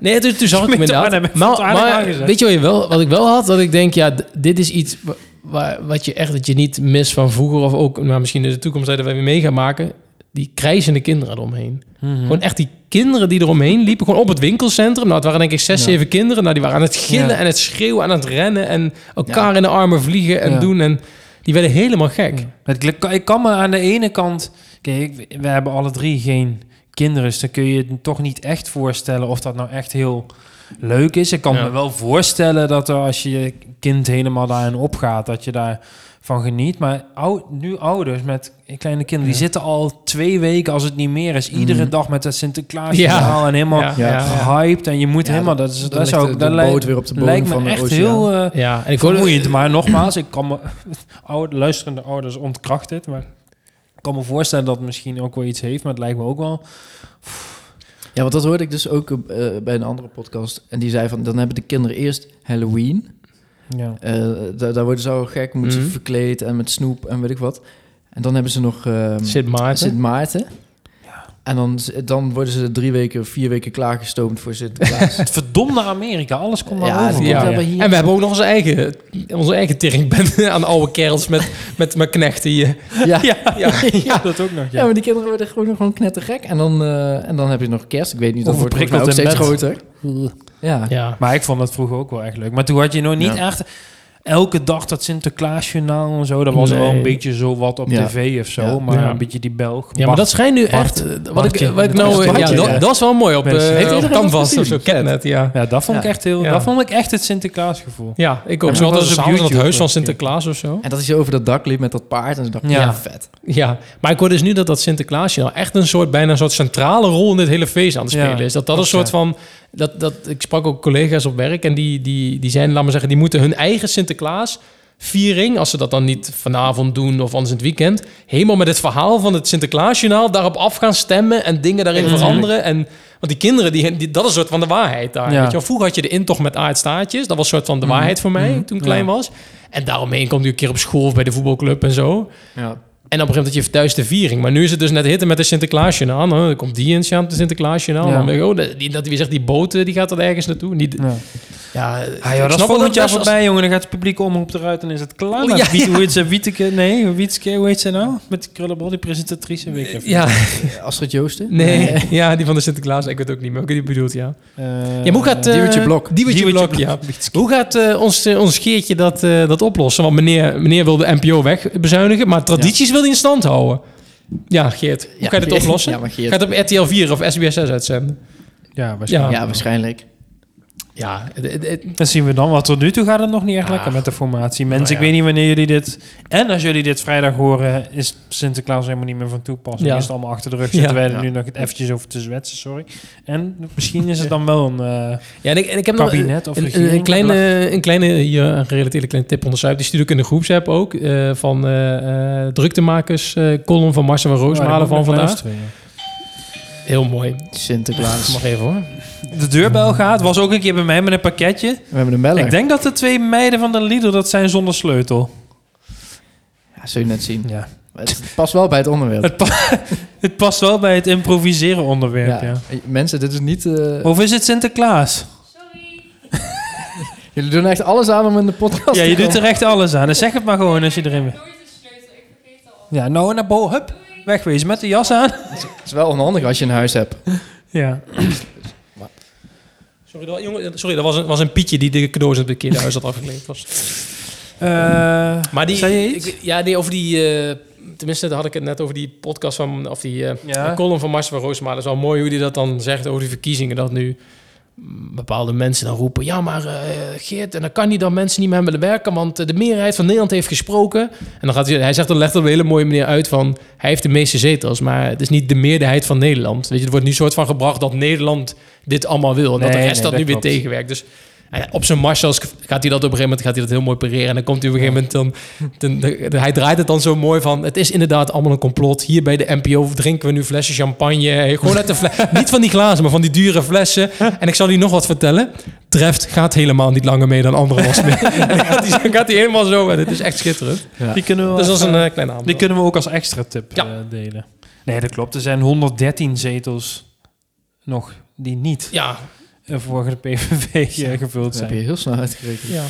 Nee, toen, toen zag ik hem Gemeente Arnhem inderdaad. heeft Maar, het aardig maar aangezet. weet je wat, je wel, wat ik wel had? Dat ik denk, ja, d- dit is iets wa- waar, wat je echt dat je niet mist van vroeger... of ook nou, misschien in de toekomst dat wij weer mee gaan maken. Die krijzende kinderen eromheen. Hm. Gewoon echt die kinderen die eromheen liepen. Gewoon op het winkelcentrum. Nou, het waren denk ik zes, Ja. zeven kinderen. Nou, die waren aan het gillen Ja. en het schreeuwen en aan het rennen... en elkaar in de armen vliegen en Ja. doen. En die werden helemaal gek. Mm. Het, ik, ik kan me aan de ene kant... Kijk, we hebben alle drie geen kinderen. Dus dan kun je het toch niet echt voorstellen of dat nou echt heel leuk is. Ik kan Ja. me wel voorstellen dat er, als je je kind helemaal daarin opgaat, dat je daarvan geniet. Maar ou- nu ouders met kleine kinderen, die zitten al twee weken, als het niet meer is, iedere Mhm. dag met dat Sinterklaas Ja. verhaal en helemaal Ja. Ja. gehyped. En je moet Ja, helemaal, dat, is, dan dat ligt zou de- ik- de dat lijkt- boot weer op de bodem lijkt me van de echt oceaan. heel... eh, Ja, en ik hoorde- Vermoeiend, maar nogmaals, ik kan me oude, luisterende ouders ontkracht dit, maar ik kan me voorstellen dat het misschien ook wel iets heeft, maar het lijkt me ook wel. Ja, want dat hoorde ik dus ook eh, bij een andere podcast. En die zei van, dan hebben de kinderen eerst Halloween. Ja. Eh, daar, daar worden ze al gek, moeten ze Mhm. verkleed en met snoep en weet ik wat. En En dan hebben ze nog ehm, Sint Maarten. Sint Maarten. En dan, dan worden ze drie weken, vier weken klaargestoomd voor Sinterklaas. Het verdomd naar Amerika. Alles komt maar Ja, over. die- Ja. Ja. hebben hier- En we hebben ook nog onze eigen, onze eigen teringbende aan oude kerels met, met, met knechten hier. ja. Ja. Ja. Ja, dat ook nog. Ja, Ja. maar die kinderen worden gewoon, gewoon knettergek. En dan, eh, en dan heb je nog kerst. Ik weet niet, dat wordt volgens mij ook steeds Overprikkeld groter. Ja. Ja. Maar ik vond dat vroeger ook wel echt leuk. Maar toen had je nog niet echt elke dag dat Sinterklaasjournaal en zo. Dat was Nee. wel een beetje zo wat op Ja. tv of zo. Ja. Maar Ja. een beetje die Belg. ja, maar dat schijnt nu Bart- echt... eh, Wat Bartje. ik, wat ik Dat nou, is eh, ja, Bartje, dat, ja. dat is wel mooi op Mensen- Heeft eh iedereen dat Canvas gezien? of zo, Catnet, ja. Ja, dat vond ik Ja. echt heel... Ja. Dat vond ik echt het Sinterklaasgevoel. Ja, ik ook. Ja, Zo dat hadden was ze op s'avonds aan het YouTube huis van ook, ja. Sinterklaas of zo. En dat hij over dat dak liep met dat paard. En ze dachten, Ja. ja. vet. Ja, maar ik hoor dus nu dat dat Sinterklaasje nou echt een soort, bijna een soort centrale rol in dit hele feest aan het Ja, spelen is. Dat dat een klopt, soort ja. van, dat, dat, ik sprak ook collega's op werk en die, die, die zijn, laat maar zeggen, die moeten hun eigen Sinterklaas viering, als ze dat dan niet vanavond doen of anders in het weekend, helemaal met het verhaal van het Sinterklaasjournaal daarop af gaan stemmen en dingen daarin Ja, veranderen. En, want die kinderen, die, die, dat is een soort van de waarheid daar. Ja. Weet je wel. Vroeger had je de intocht met aardstaartjes, dat was een soort van de waarheid voor mij Mhm. toen ik klein Ja. was. En daaromheen komt u een keer op school of bij de voetbalclub en zo. Ja. En op een gegeven moment je thuis de viering. Maar nu is het dus net hitten met de Sinterklaasje aan. Dan komt die in aan de Sinterklaasje aan. Ja. Dan ben je, oh, dat- die, dat, wie zegt, die boten die gaat er ergens naartoe. Die, Ja. ja, Ah, joh, ik dat is snap wel volgend jaar best als- voorbij, jongen. Dan gaat het publiek omroep eruit en is het klaar. Oh, Met ja, Wiet- ja. Hoe heet ze? Wieteke? Nee, Wietske, hoe heet ze nou? Met die krullenbol, die presentatrice. Weet ik even. Ja, Astrid Joosten? nee. Ja, die van de Sinterklaas. Ik weet het ook niet meer. Ik weet die bedoelt, ja. Eh, Ja, maar hoe gaat... eh, eh, Diewertje Blok. Diewertje Diewertje Blok, ja. Hoe gaat eh, ons, eh, ons geertje dat, eh, dat oplossen? Want meneer, meneer wil de NPO wegbezuinigen, maar tradities wil hij in stand houden. Ja, Geert. Hoe Ja, ga je dat Geert. oplossen? Ja, maar Geert. Ga je het op RTL 4 of SBS 6 uitzenden? Ja, waarschijnlijk. Ja, waarschijnlijk. Ja, het- het- het- Dan zien we dan. Want tot nu toe gaat het nog niet echt Ah. lekker met de formatie. Mensen, Nou ja. ik weet niet wanneer jullie dit... En als jullie dit vrijdag horen, is Sinterklaas helemaal niet meer van toepassing. Ja. Is het allemaal achter de rug. Ja. Zitten wij er Ja. nu nog eventjes over te zwetsen, sorry. En misschien is het dan wel een eh, Ja, en ik, en ik heb nog een, kabinet of een, regering. een kleine, een kleine hier, een gerelateerde kleine tip onderzoek. Die stuur ik in de groepsapp ook. eh, van eh, eh, druktemakers, eh, column van Marcel van Oh, daar moet Roosmalen ik van nog vandaag. luisteren, ja. Heel mooi. Sinterklaas. Mag even hoor. De deurbel gaat. Was ook een keer bij mij met een pakketje. We hebben een beller. Ik denk dat de twee meiden van de Lidl dat zijn zonder sleutel. Ja, zul je net zien. Ja. Maar Het past wel bij het onderwerp. Het, pa- het past wel bij het improviseren onderwerp, Ja. ja. Mensen, dit is niet... eh, Of is het Sinterklaas? Jullie doen echt alles aan om in de podcast ja, te je doet komen. er echt alles aan. Dan zeg het maar gewoon als je erin bent. Nooit een sleutel, ik vergeet al. Ja, nou naar boven. Hup, wegwezen met de jas aan. Het is wel onhandig als je een huis hebt. Ja. Sorry, dat, jongen, sorry, dat was een, was een Pietje die de cadeaus in het kinderhuis had afgeleverd. Was. Eh, Maar die, Zei je iets? ik- ja, nee, over die... eh, tenminste, daar had ik het net over die podcast van... Of die eh, Ja. column van Marcel van Roosmalen. Dat is wel mooi hoe die dat dan zegt over die verkiezingen. Dat nu mm, bepaalde mensen dan roepen... Ja, maar eh, Geert, en dan kan hij dan mensen niet meer willen werken... want eh, de meerderheid van Nederland heeft gesproken. En dan gaat hij... Hij zegt dan legt op een hele mooie manier uit van... Hij heeft de meeste zetels, maar het is niet de meerderheid van Nederland. Weet je, er wordt nu soort van gebracht dat Nederland dit allemaal wil. En dat de Nee, rest nee, dat, dat nu klopt. weer tegenwerkt. Dus en op zijn Marshalls gaat hij dat op een gegeven moment gaat hij dat heel mooi pareren. En dan komt hij op een gegeven moment dan... dan- dan- hij draait het dan zo mooi van... Het is inderdaad allemaal een complot. Hier bij de NPO drinken we nu flessen champagne. eh, Gewoon uit de fles. niet van die glazen, maar van die dure flessen. En ik zal u nog wat vertellen. Treft gaat helemaal niet langer mee dan anderen was mee. En dan gaat hij- dan gaat hij helemaal zo. En het is echt schitterend. Die kunnen we, Dus dat is als, een eh, eh, kleine aanbod. die kunnen we ook als extra tip Ja. eh, delen. Nee, dat klopt. Er zijn 113 zetels nog die niet Ja, eh, voor de PVV eh, gevuld Dat heb zijn. je heel snel uitgerekend. ja.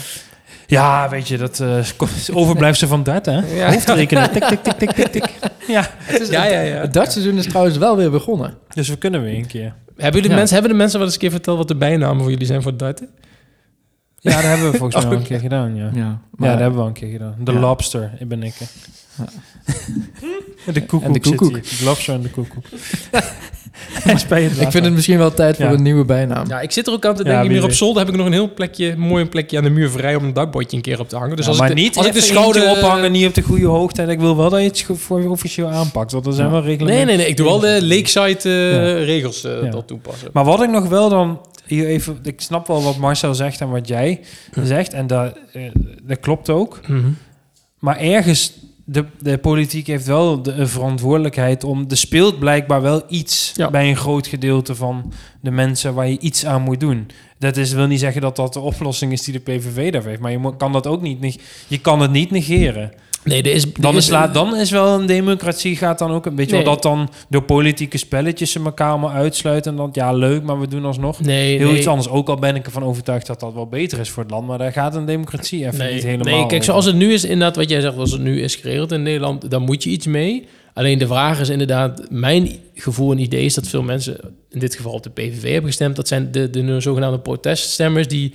Ja, weet je, dat overblijft overblijfsel van dat, hè? Ja. Hoofdrekenen. Tik, tik, tik, tik, tik, tik. Ja, Het, is- Ja, ja, ja. het dartseizoen is trouwens wel weer begonnen. dus we kunnen weer een keer. Hebben, jullie Ja. mensen, hebben de mensen wel eens een keer verteld wat de bijnamen voor jullie zijn voor darten? Ja, dat hebben we volgens mij Oh, al een oké. keer gedaan, ja. Ja, ja, maar, dat hebben we al een keer gedaan. De Ja. lobster, ik ben ik. hè. En de koekoek En de zit koekoek. hier. De lobster en de koekoek. Hij is bij het ik vind het misschien wel tijd voor Ja. een nieuwe bijnaam. Ja, ik zit er ook aan te Ja, denken. wie hier op weet. zolder heb ik nog een heel plekje, mooi een plekje aan de muur vrij om een dakbordje een keer op te hangen. Dus Ja, als, maar ik de, niet als ik de even eentje schouder ophangen, niet op de goede hoogte. En ik wil wel dat je iets ge- voor je officieel aanpakt. Want er zijn Ja. wel reglementen. Nee, nee, nee. Ik doe wel de Lakeside eh, regels eh, Ja. dat toepassen. Maar wat ik nog wel dan hier even, ik snap wel wat Marcel zegt en wat jij Hm. zegt, en dat, eh, dat klopt ook. Mhm. Maar ergens, de, de politiek heeft wel de eh, verantwoordelijkheid om, er speelt blijkbaar wel iets Ja. bij een groot gedeelte van de mensen waar je iets aan moet doen. Dat is, wil niet zeggen dat dat de oplossing is die de PVV daar heeft. Maar je mo- kan dat ook niet. neg- Je kan het niet negeren. Nee, er is, er Dan is, is, laat, dan is wel een democratie gaat dan ook een beetje... Nee. Dat dan door politieke spelletjes ze elkaar allemaal uitsluiten. En dat, ja, leuk, maar we doen alsnog nee, heel nee. iets anders. Ook al ben ik ervan overtuigd dat dat wel beter is voor het land. Maar daar gaat een democratie even Nee, niet helemaal nee, kijk, over. zoals het nu is, inderdaad, wat jij zegt, als het nu is geregeld in Nederland, dan moet je iets mee. Alleen de vraag is inderdaad, mijn gevoel en idee is dat veel mensen, in dit geval op de PVV hebben gestemd, dat zijn de, de, zogenaamde proteststemmers die,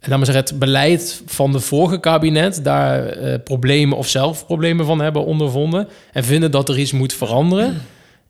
laten we zeggen, het beleid van de vorige kabinet daar eh, problemen of zelf problemen van hebben ondervonden en vinden dat er iets moet veranderen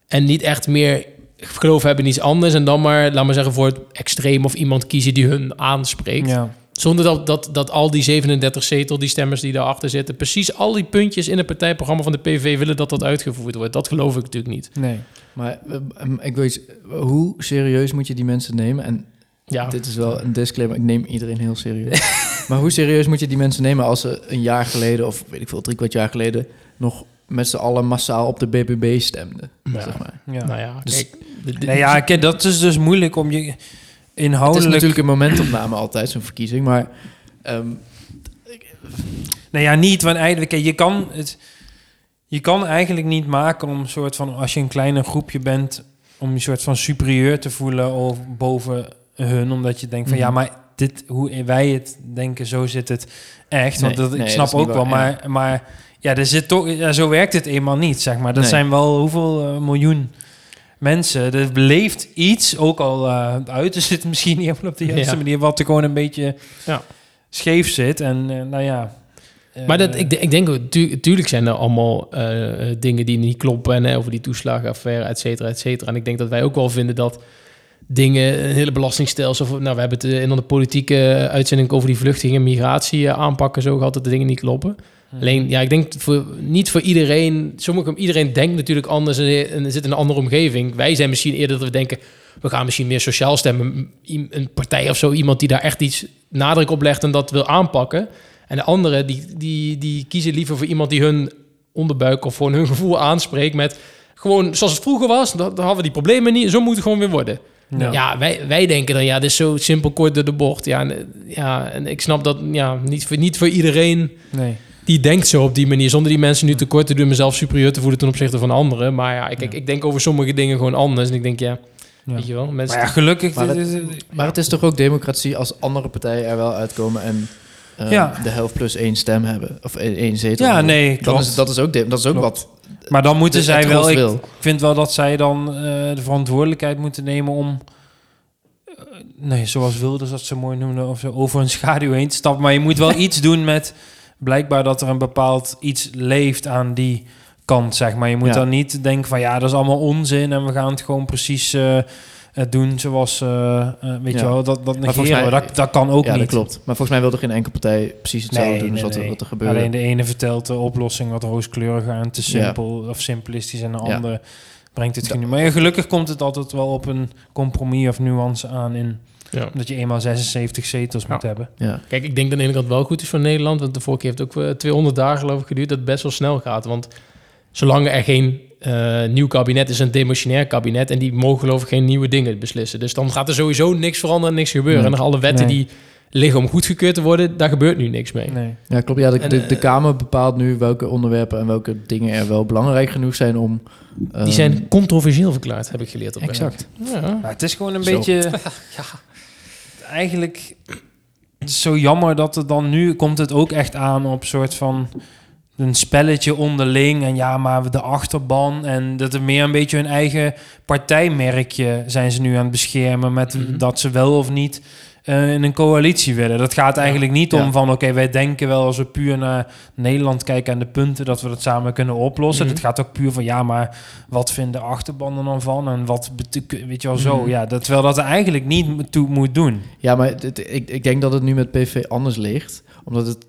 en niet echt meer geloof hebben in iets anders en dan maar, laten we zeggen, voor het extreem of iemand kiezen die hun aanspreekt. Ja. Zonder dat, dat, dat al die 37 zetel, die stemmers die daarachter zitten, precies al die puntjes in het partijprogramma van de PV willen dat dat uitgevoerd wordt. Dat geloof ik natuurlijk niet. Nee. Maar eh, ehm, ik weet, hoe serieus moet je die mensen nemen? En Ja, Dit is wel een disclaimer. Ik neem iedereen heel serieus. maar hoe serieus moet je die mensen nemen als ze een jaar geleden, of weet ik veel, drie kwart jaar geleden, nog met z'n allen massaal op de BBB stemden? Ja. Zeg maar. Ja. nou ja. Dus- kijk, dit- dit- Nee, ja, kijk, dat is dus moeilijk om je Het is inhoudelijk... natuurlijk een momentopname altijd, zo'n verkiezing. Maar ehm, Nou ja, niet, want eigenlijk, kijk, je kan het, je kan eigenlijk niet maken om een soort van, als je een kleiner groepje bent, om je soort van superieur te voelen of boven hun, omdat je denkt van Mhm. ja, maar dit, hoe wij het denken, zo zit het echt. Want Nee, dat, ik nee, snap dat is niet ook wel, waar, ja. maar, maar ja, er zit toch, ja, zo werkt het eenmaal niet, zeg maar. Dat Nee. zijn wel hoeveel eh, miljoen. Mensen, er leeft iets, ook al eh, het uiten zit misschien niet helemaal op de juiste Ja. manier, wat er gewoon een beetje Ja. scheef zit. En eh, nou ja. eh, Maar dat, ik, de- ik denk, ook, tu- tuurlijk zijn er allemaal eh, eh, dingen die niet kloppen. En, hè, over die toeslagenaffaire, et cetera, et cetera. En ik denk dat wij ook wel vinden dat dingen, eh, een hele belastingstelsel... Of, nou, we hebben het eh, in de politieke eh, uitzending over die vluchtelingen en migratie eh, aanpakken. Zo gehad dat de dingen niet kloppen. Hmm. Alleen, ja, ik denk voor, niet voor iedereen... Sommige, iedereen denkt natuurlijk anders en, en zit in een andere omgeving. Wij zijn misschien eerder dat we denken... We gaan misschien meer sociaal stemmen. I- Een partij of zo, iemand die daar echt iets nadruk op legt en dat wil aanpakken. En de anderen, die, die, die kiezen liever voor iemand die hun onderbuik of gewoon hun gevoel aanspreekt met... Gewoon zoals het vroeger was, dan dan hadden we die problemen niet. Zo moet het gewoon weer worden. Ja, wij, wij denken dan, ja, dit is zo simpel kort door de bocht. Ja, en, eh, ja, en ik snap dat ja, niet, voor, niet voor iedereen Nee. die denkt zo op die manier. Zonder die mensen nu tekort te doen, mezelf superieur te voelen ten opzichte van anderen. Maar ja, ik, ik, Ja. ik denk over sommige dingen gewoon anders. En ik denk, ja, Ja. weet je wel. Mensen, Maar ja, gelukkig. Maar dit dat- is- dit- maar het is toch ook democratie als andere partijen er wel uitkomen en ehm, Ja. de helft plus één stem hebben, of één één zetel. ja, hebben. nee, Dan klopt. is, dat is ook, de- dat is ook Klopt. wat. maar dan moeten de- zij het wel. gros Ik wil. vind wel dat zij dan eh, de verantwoordelijkheid moeten nemen om. eh, Nee, zoals Wilders dat ze mooi noemde, of zo, over een schaduw heen te stappen. Maar je moet wel iets doen met. Blijkbaar dat er een bepaald iets leeft aan die kant, zeg maar. Je moet Ja. dan niet denken van ja, dat is allemaal onzin en we gaan het gewoon precies eh, eh, doen zoals. eh, eh, weet Ja. je wel, dat, dat volgens negeren. we. mij- dat, dat kan ook ja, niet. dat klopt. Maar volgens mij wilde geen enkele partij precies hetzelfde doen als wat, er- wat er gebeurde. Alleen de ene vertelt de oplossing wat rooskleuriger en te Ja. simpel of simplistisch. En de Ja. andere brengt het geen. Maar ja, gelukkig komt het altijd wel op een compromis of nuance aan. In, ja. omdat je eenmaal 76 zetels moet Ja. hebben. ja. Kijk, ik denk dat aan de ene kant wel goed is voor Nederland. Want de vorige keer heeft het ook eh, 200 dagen geloof ik geduurd. Dat het best wel snel gaat. Want zolang er geen eh, nieuw kabinet is, een demissionair kabinet. En die mogen geloof ik geen nieuwe dingen beslissen. Dus dan gaat er sowieso niks veranderen, niks gebeuren. Nee. En alle wetten Nee. die liggen om goedgekeurd te worden, daar gebeurt nu niks mee. Nee. Ja, klopt. Ja, de, En, de, eh, de Kamer bepaalt nu welke onderwerpen en welke dingen er wel belangrijk genoeg zijn om... ehm, Die zijn controversieel verklaard, heb ik geleerd. Op Exact. Ja. Maar het is gewoon een Zo. beetje... ja, eigenlijk het is zo jammer dat er dan nu... komt het ook echt aan op soort van... een spelletje onderling en ja, maar de achterban... en dat er meer een beetje hun eigen partijmerkje zijn ze nu aan het beschermen... met Mhm. dat ze wel of niet eh, in een coalitie willen. Dat gaat eigenlijk niet om Ja. van... oké, wij denken wel als we puur naar Nederland kijken... en de punten dat we dat samen kunnen oplossen. Mhm. Het gaat ook puur van ja, maar wat vinden de achterbanden dan van? En wat bete- weet je wel zo? Mhm. Ja, dat, terwijl dat er eigenlijk niet m- toe moet doen. Ja, maar dit- ik, ik denk dat het nu met PV anders ligt. Omdat het...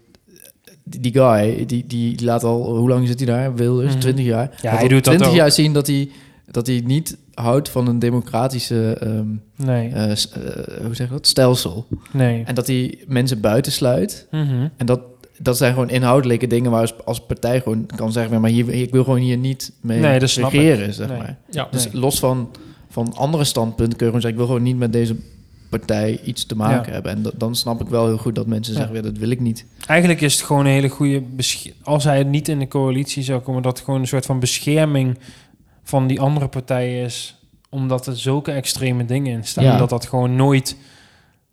Die guy, die, die laat al... Hoe lang zit hij daar? Wilders, Mhm. 20 jaar. Laat hij al doet dat 20 ook. jaar zien dat hij, dat hij niet houdt van een democratische... ehm, Nee, eh, s- eh, hoe zeg je dat? Stelsel. nee. En dat hij mensen buitensluit. Mhm. En dat, dat zijn gewoon inhoudelijke dingen waar als, als partij gewoon kan zeggen... maar hier, ik wil gewoon hier niet mee Nee, dat snap ik. regeren, zeg Nee. maar. Ja. Dus Nee. los van, van andere standpunten kun je gewoon zeggen... ik wil gewoon niet met deze partij iets te maken Ja. hebben. En da- dan snap ik wel heel goed dat mensen Ja. zeggen, ja, dat wil ik niet. Eigenlijk is het gewoon een hele goede... besche- Als hij niet in de coalitie zou komen... dat het gewoon een soort van bescherming van die andere partij is... omdat er zulke extreme dingen in staan... Ja. dat dat gewoon nooit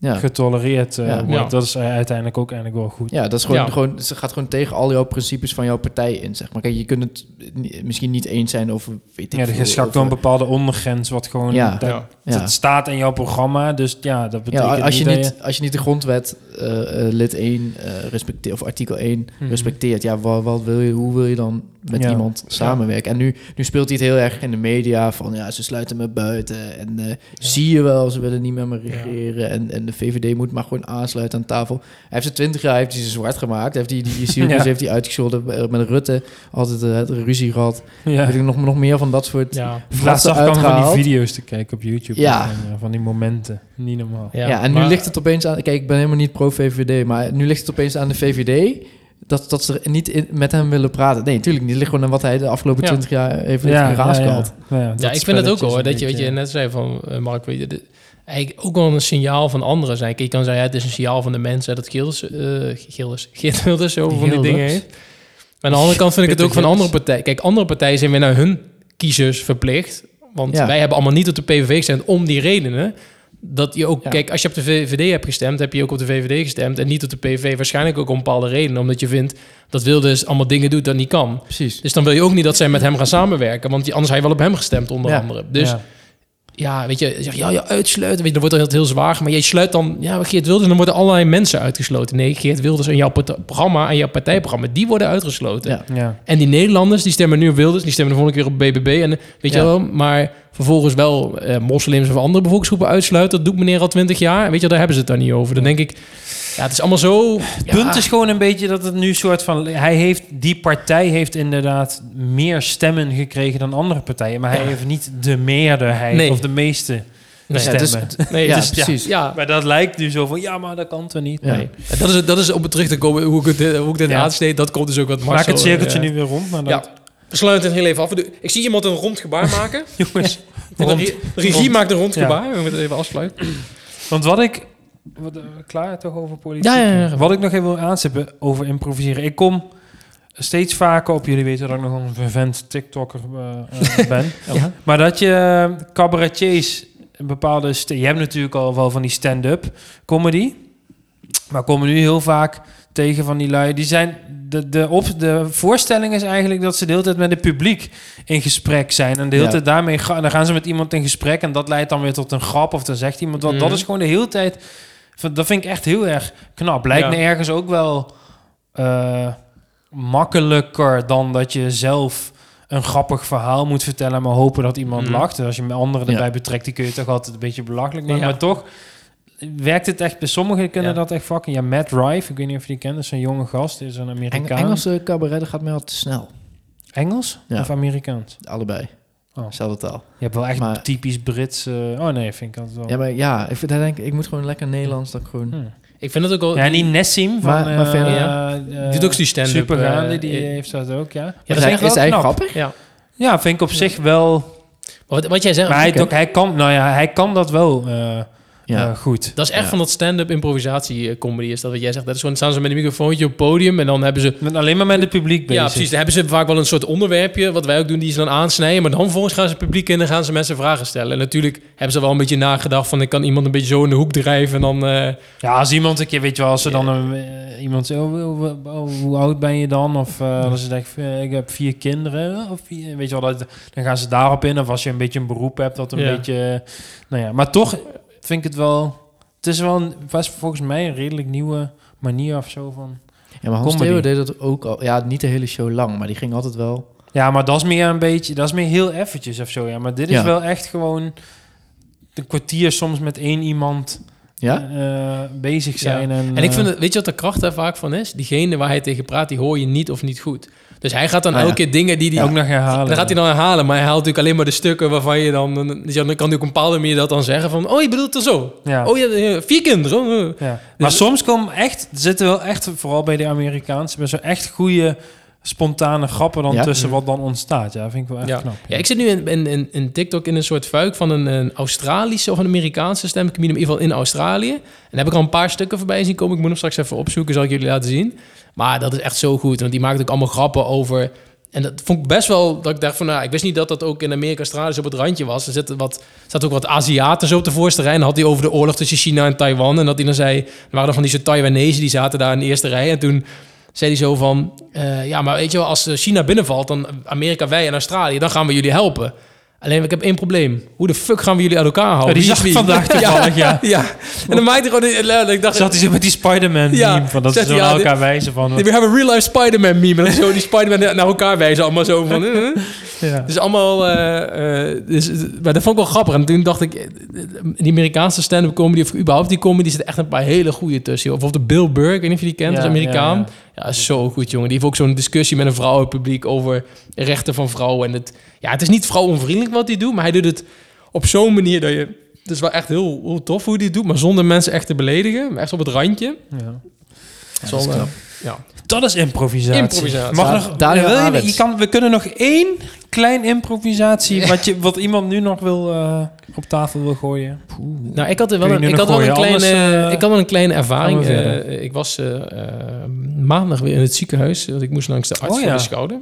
Ja, getolereerd eh, Ja. wordt. Ja. Dat is eh, uiteindelijk ook eigenlijk wel goed. ja dat is gewoon, Ja. gewoon, ze gaat gewoon tegen al jouw principes van jouw partij in, zeg maar. Kijk, je kunt het ni- misschien niet eens zijn over, weet ik Ja, er veel, is ook wel een over- bepaalde ondergrens... wat gewoon... Ja. dat, Ja. dat ja. staat in jouw programma. Dus ja, dat Ja, betekent als je, dat niet, als je niet de grondwet, eh, eh, lid 1, eh respecteert, of artikel 1 Mhm. respecteert, ja, wat, wat wil je, hoe wil je dan met Ja. iemand samenwerken? En nu, nu speelt hij het heel erg in de media van, ja, ze sluiten me buiten en eh, zie je wel, ze willen niet met me regeren en, en de VVD moet maar gewoon aansluiten aan tafel. Hij heeft ze twintig jaar, heeft hij ze zwart gemaakt, heeft die, die, die circus Ja. heeft hij uitgescholden eh, met Rutte, altijd eh, het ruzie gehad. Mhm. Ja. Weet ik nog, nog meer van dat soort... Ja. Ja. Laatst af kan van die uitgehaald. video's te kijken op YouTube. Ja. En, eh, van die momenten. Niet normaal. en nu maar- ligt het opeens aan... Kijk, ik ben helemaal niet pro-VVD, maar nu ligt het opeens aan de VVD... dat, dat ze er niet in- met hem willen praten. Nee, natuurlijk niet. Het ligt gewoon aan wat hij de afgelopen Ja. twintig jaar heeft ja, gehad. Ja, ja, dat Ja, ik vind het ook dus wel hoor. Dat je, weet je, net zei van eh, Mark, weet je, de- eigenlijk ook wel een signaal van anderen zijn. Kijk, je kan zeggen, ja, het is een signaal van de mensen dat Gilders, eh Gilders, Geert Wilders zo van die Gilders. dingen heeft. Maar aan de andere kant vind ik het ook van andere partijen. Kijk, andere partijen zijn weer naar hun kiezers verplicht. Want Ja. wij hebben allemaal niet op de PVV gestemd om die redenen. Dat je ook, Ja. kijk, als je op de VVD hebt gestemd, heb je ook op de VVD gestemd en niet op de PVV. Waarschijnlijk ook om bepaalde redenen, omdat je vindt dat Wilders allemaal dingen doet dat niet kan. Precies. Dus dan wil je ook niet dat zij met hem gaan samenwerken. Want die- anders had je wel op hem gestemd, onder Ja. andere. Dus ja. weet je, zeg je, ja, ja, uitsluiten. Weet je, dan wordt dat heel zwaar. Maar je sluit dan, ja, Geert Wilders, dan worden allerlei mensen uitgesloten. Nee, Geert Wilders en jouw part- programma en jouw partijprogramma, die worden uitgesloten. Ja. ja. En die Nederlanders, die stemmen nu op Wilders, die stemmen de volgende keer op BBB. En eh, weet Ja. je wel, maar vervolgens wel eh, moslims of andere bevolkingsgroepen uitsluiten. Dat doet meneer al twintig jaar. Weet je, wel, daar hebben ze het dan niet over. Dan denk ik, ja, het is allemaal zo... Het punt is gewoon een beetje dat het nu soort van... Hij heeft, die partij heeft inderdaad meer stemmen gekregen dan andere partijen. Maar hij Ja. heeft niet de meerderheid Nee. of de meeste Nee, stemmen. dus- nee, ja, het is, precies. ja, maar dat lijkt nu zo van, ja, maar dat kan toch niet? Ja. Nee. En Dat is, dat is om terug te komen hoe ik, het, eh, hoe ik dit Ja. aansteed. Dat komt dus ook wat Marcel... Maak het cirkeltje eh, nu weer rond. Maar dat, Ja. We sluiten het heel even af. We doen- Ik zie iemand een rond gebaar maken. Jongens, De rond. re- regie Rond. maakt een rond Ja. gebaar. We moeten het even afsluiten. Want wat ik... Wat, eh, klaar toch over politiek? Ja, ja, ja. Wat ik nog even wil aanstippen over improviseren. Ik kom steeds vaker op... Jullie weten dat ik nog een vervent TikToker eh, eh, ben. Ja. Maar dat je eh, cabaretiers een bepaalde... st- Je hebt natuurlijk al wel van die stand-up comedy. Maar komen nu heel vaak tegen van die lui. Die zijn de, de, op, de voorstelling is eigenlijk dat ze de hele tijd met het publiek in gesprek zijn. En de hele Ja. tijd daarmee ga- dan gaan ze met iemand in gesprek. En dat leidt dan weer tot een grap. Of dan zegt iemand wat. Mhm. Dat is gewoon de hele tijd. van- Dat vind ik echt heel erg knap. Lijkt Ja. me ergens ook wel eh, makkelijker dan dat je zelf een grappig verhaal moet vertellen. Maar hopen dat iemand Mhm. lacht. En als je met anderen Ja. erbij betrekt, die kun je toch altijd een beetje belachelijk maken. Ja. Maar toch werkt het echt bij sommigen kunnen Ja. dat echt fucking ja Matt Rife ik weet niet of je die kent dat is een jonge gast die is een Eng- Amerikaan Engelse cabaret dat gaat mij al te snel. Engels Ja. of Amerikaans Allebei. Oh. Zelfde taal. je hebt wel echt Maar- typisch Brits eh, oh nee vind ik dat wel Ja, maar ja, ik, vind, daar denk, ik ik moet gewoon lekker Nederlands dan gewoon... Hm. Ik vind dat ook wel... ja en die Nessim van Maar- maar eh, verder- eh, Die doet ook die stand-up, Supergaande, eh, die eh, heeft dat ook ja Ja, Maar dat hij- is echt wel hij knap. grappig? ja. ja vind ik op zich wel Maar Wat, wat jij zegt... maar hij, Oké. ook, hij kan nou ja hij kan dat wel eh, Ja. eh, goed dat is echt Ja. van dat stand-up improvisatie eh, comedy. Is dat wat jij zegt? Dat is gewoon, staan ze met een microfoontje op het podium en dan hebben ze... met alleen maar met het publiek bezig Ja, precies. Dan hebben ze vaak wel een soort onderwerpje, wat wij ook doen, die ze dan aansnijden. Maar dan vervolgens gaan ze het publiek in en gaan ze mensen vragen stellen. En natuurlijk hebben ze wel een beetje nagedacht van, ik kan iemand een beetje zo in de hoek drijven en dan... eh, Ja, als iemand een keer, weet je wel, als ze dan een, eh, iemand zegt, oh, oh, oh, hoe oud ben je dan? Of eh, als ze zegt, eh, ik heb vier kinderen. Of vier, weet je wel, dat, dan gaan ze daarop in. Of als je een beetje een beroep hebt, dat een Ja. beetje... eh, nou ja, maar toch vind ik het wel... Het is wel een, was volgens mij een redelijk nieuwe manier of zo van... Ja, maar Hans Comedy. Theo deed dat ook al. Ja, niet de hele show lang, maar die ging altijd wel... Ja, maar dat is meer een beetje... Dat is meer heel eventjes of zo, ja. Maar dit is Ja. wel echt gewoon... Een kwartier soms met één iemand Ja? eh, bezig zijn. En, En ik eh, vind, het, weet je wat de kracht daar vaak van is? Diegene waar hij tegen praat, die hoor je niet of niet goed. Dus hij gaat dan Ah, ja. elke keer dingen die hij... ook nog herhalen. dan gaat hij dan herhalen, maar hij haalt natuurlijk alleen maar de stukken waarvan je dan... Dan dan kan hij op een bepaalde manier dat dan zeggen van... Oh, je bedoelt het zo. Ja. Oh, je hebt vier kinderen. Oh, eh. Ja. Maar soms komen echt, zitten wel echt, vooral bij de Amerikaanse, bij zo echt goede spontane grappen dan Ja. tussen wat dan ontstaat. Ja, vind ik wel echt Ja. knap. Ja, ik zit nu in, in, in, in TikTok in een soort vuik van een, een Australische of een Amerikaanse stemcomedian, in ieder geval in Australië. En daar heb ik al een paar stukken voorbij zien komen. Ik moet hem straks even opzoeken, zal ik jullie laten zien. Maar dat is echt zo goed, want die maakt ook allemaal grappen over... En dat vond ik best wel, dat ik dacht van, nou, ik wist niet dat dat ook in Amerika Australië op het randje was. Er zitten wat, zat ook wat Aziaten zo op de voorste rij. En dan had hij over de oorlog tussen China en Taiwan. En dat hij dan zei, er waren dan van die soort Taiwanese die zaten daar in de eerste rij. En toen zei hij zo van, eh, ja, maar weet je wel, als eh, China binnenvalt, dan Amerika, wij en Australië, dan gaan we jullie helpen. Alleen, ik heb één probleem. Hoe de fuck gaan we jullie uit elkaar houden? Ja, die Wie zag is ik wie? vandaag toevallig, ja. ja. En dan maakte hij gewoon... een- letterlijk, Ik dacht, Zat hij zo met die Spider-Man Ja, meme van dat ze zegt zo hij, naar ja, elkaar wijzen van... we hebben een real-life Spider-Man meme. En dan zo die Spider-Man naar elkaar wijzen. Allemaal zo van... eh, eh. ja. Dus allemaal... eh, eh, dus, maar dat vond ik wel grappig. En toen dacht ik... eh, Die Amerikaanse stand-up comedy... of überhaupt die comedy... zitten echt een paar hele goede tussen. joh. Bijvoorbeeld de Bill Burr. Ik weet niet of je die kent. Ja, als Amerikaan. ja, Ja, is zo goed, jongen. Die heeft ook zo'n discussie met een vrouw in het publiek... over rechten van vrouwen. En het, ja, het is niet vrouwonvriendelijk wat hij doet... maar hij doet het op zo'n manier dat je... Het is wel echt heel, heel tof hoe hij het doet... maar zonder mensen echt te beledigen. Echt op het randje. Ja. dat is Zal, eh, knap. Ja. Dat is improvisatie. Improvisatie. Mag Ja, nog, Daniel wil je- Arends. je kan, we kunnen nog één klein improvisatie... Wat, je, wat iemand nu nog wil, eh, op tafel wil gooien. Nou, ik had er wel Kun je een, nu ik nog had wel een gooien? kleine, Anders, eh, ik had wel een kleine ervaring. gaan we verder. Eh, ik was eh, eh, maandag weer in het ziekenhuis, want ik moest langs de arts Oh, voor ja. de schouder.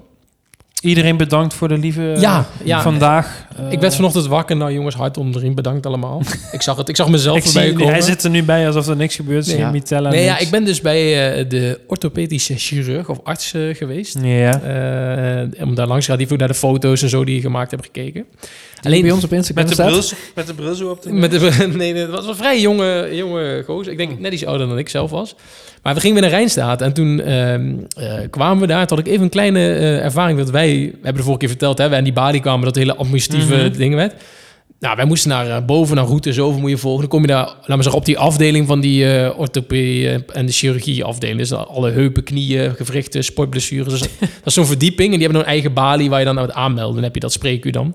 Iedereen bedankt voor de lieve... ja, ja. Vandaag. eh, ik werd vanochtend wakker. Nou, jongens, hart om de riem. Bedankt allemaal. ik zag het. Ik zag mezelf ik voorbij zie, komen. Hij zit er nu bij alsof er niks gebeurd is. Nee, Geen ja. Mitella, nee, ja, niks. ik ben dus bij eh, de orthopedische chirurg of arts eh, geweest. Ja. Eh, om daar langs te gaan. Die heeft ook naar de foto's en zo die je gemaakt hebt gekeken. Alleen bij ons op Instagram Met de, staat. bril, met de bril zo op de Met de, nee, dat was een vrij jonge, jonge gozer. Ik denk net iets ouder dan ik zelf was. Maar we gingen weer naar Rijnstaat. En toen ehm, eh, kwamen we daar. Toen had ik even een kleine eh, ervaring. Dat wij, we hebben de vorige keer verteld, hè, wij aan die balie kwamen. Dat hele administratieve Mhm. ding werd. Nou, wij moesten naar eh, boven, naar route zoveel moet je volgen. Dan kom je daar, laten we zeggen, op die afdeling van die eh, orthopedie eh, en de chirurgie afdeling. Dus alle heupen, knieën, gewrichten, sportblessures. Dus dat is zo'n verdieping. En die hebben dan een eigen balie waar je dan aan het aanmelden. Dan heb je dat spreekuur dan.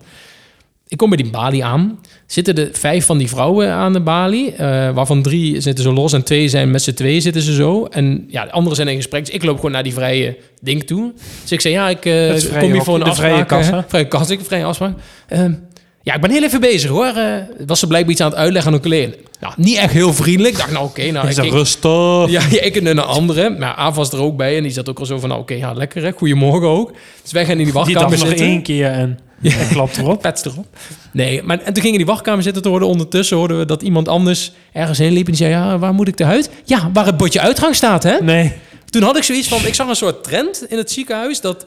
Ik kom bij die balie aan. Zitten er vijf van die vrouwen aan de balie. eh, waarvan drie zitten zo los en twee zijn met z'n twee zitten ze zo. En ja, de anderen zijn in gesprek. Dus ik loop gewoon naar die vrije ding toe. Dus ik zei, ja, ik eh, Het vrije kom hier hok, voor een de vrije afspraak. hè. kassa. Vrije kassa, ik vrije afspraak. Ehm, ja, ik ben heel even bezig hoor. Eh, was ze blijkbaar iets aan het uitleggen aan een collega. Nou, niet echt heel vriendelijk. Ik dacht, nou oké. nou, ik, ik- rustig. ja, ja, ik en een andere. Maar Aaf was er ook bij en die zat ook al zo van, nou oké, ja, lekker hè. Goedemorgen ook. Dus wij gaan in die Die wachtkamer dacht nog zitten. één keer en ja. klapt erop. Pets erop. Nee, maar en toen gingen die wachtkamer zitten te worden. Ondertussen hoorden we dat iemand anders ergens heen liep en die zei: Ja, waar moet ik eruit? Ja, waar het bordje uitgang staat, hè? Nee, Toen had ik zoiets van: ik zag een soort trend in het ziekenhuis dat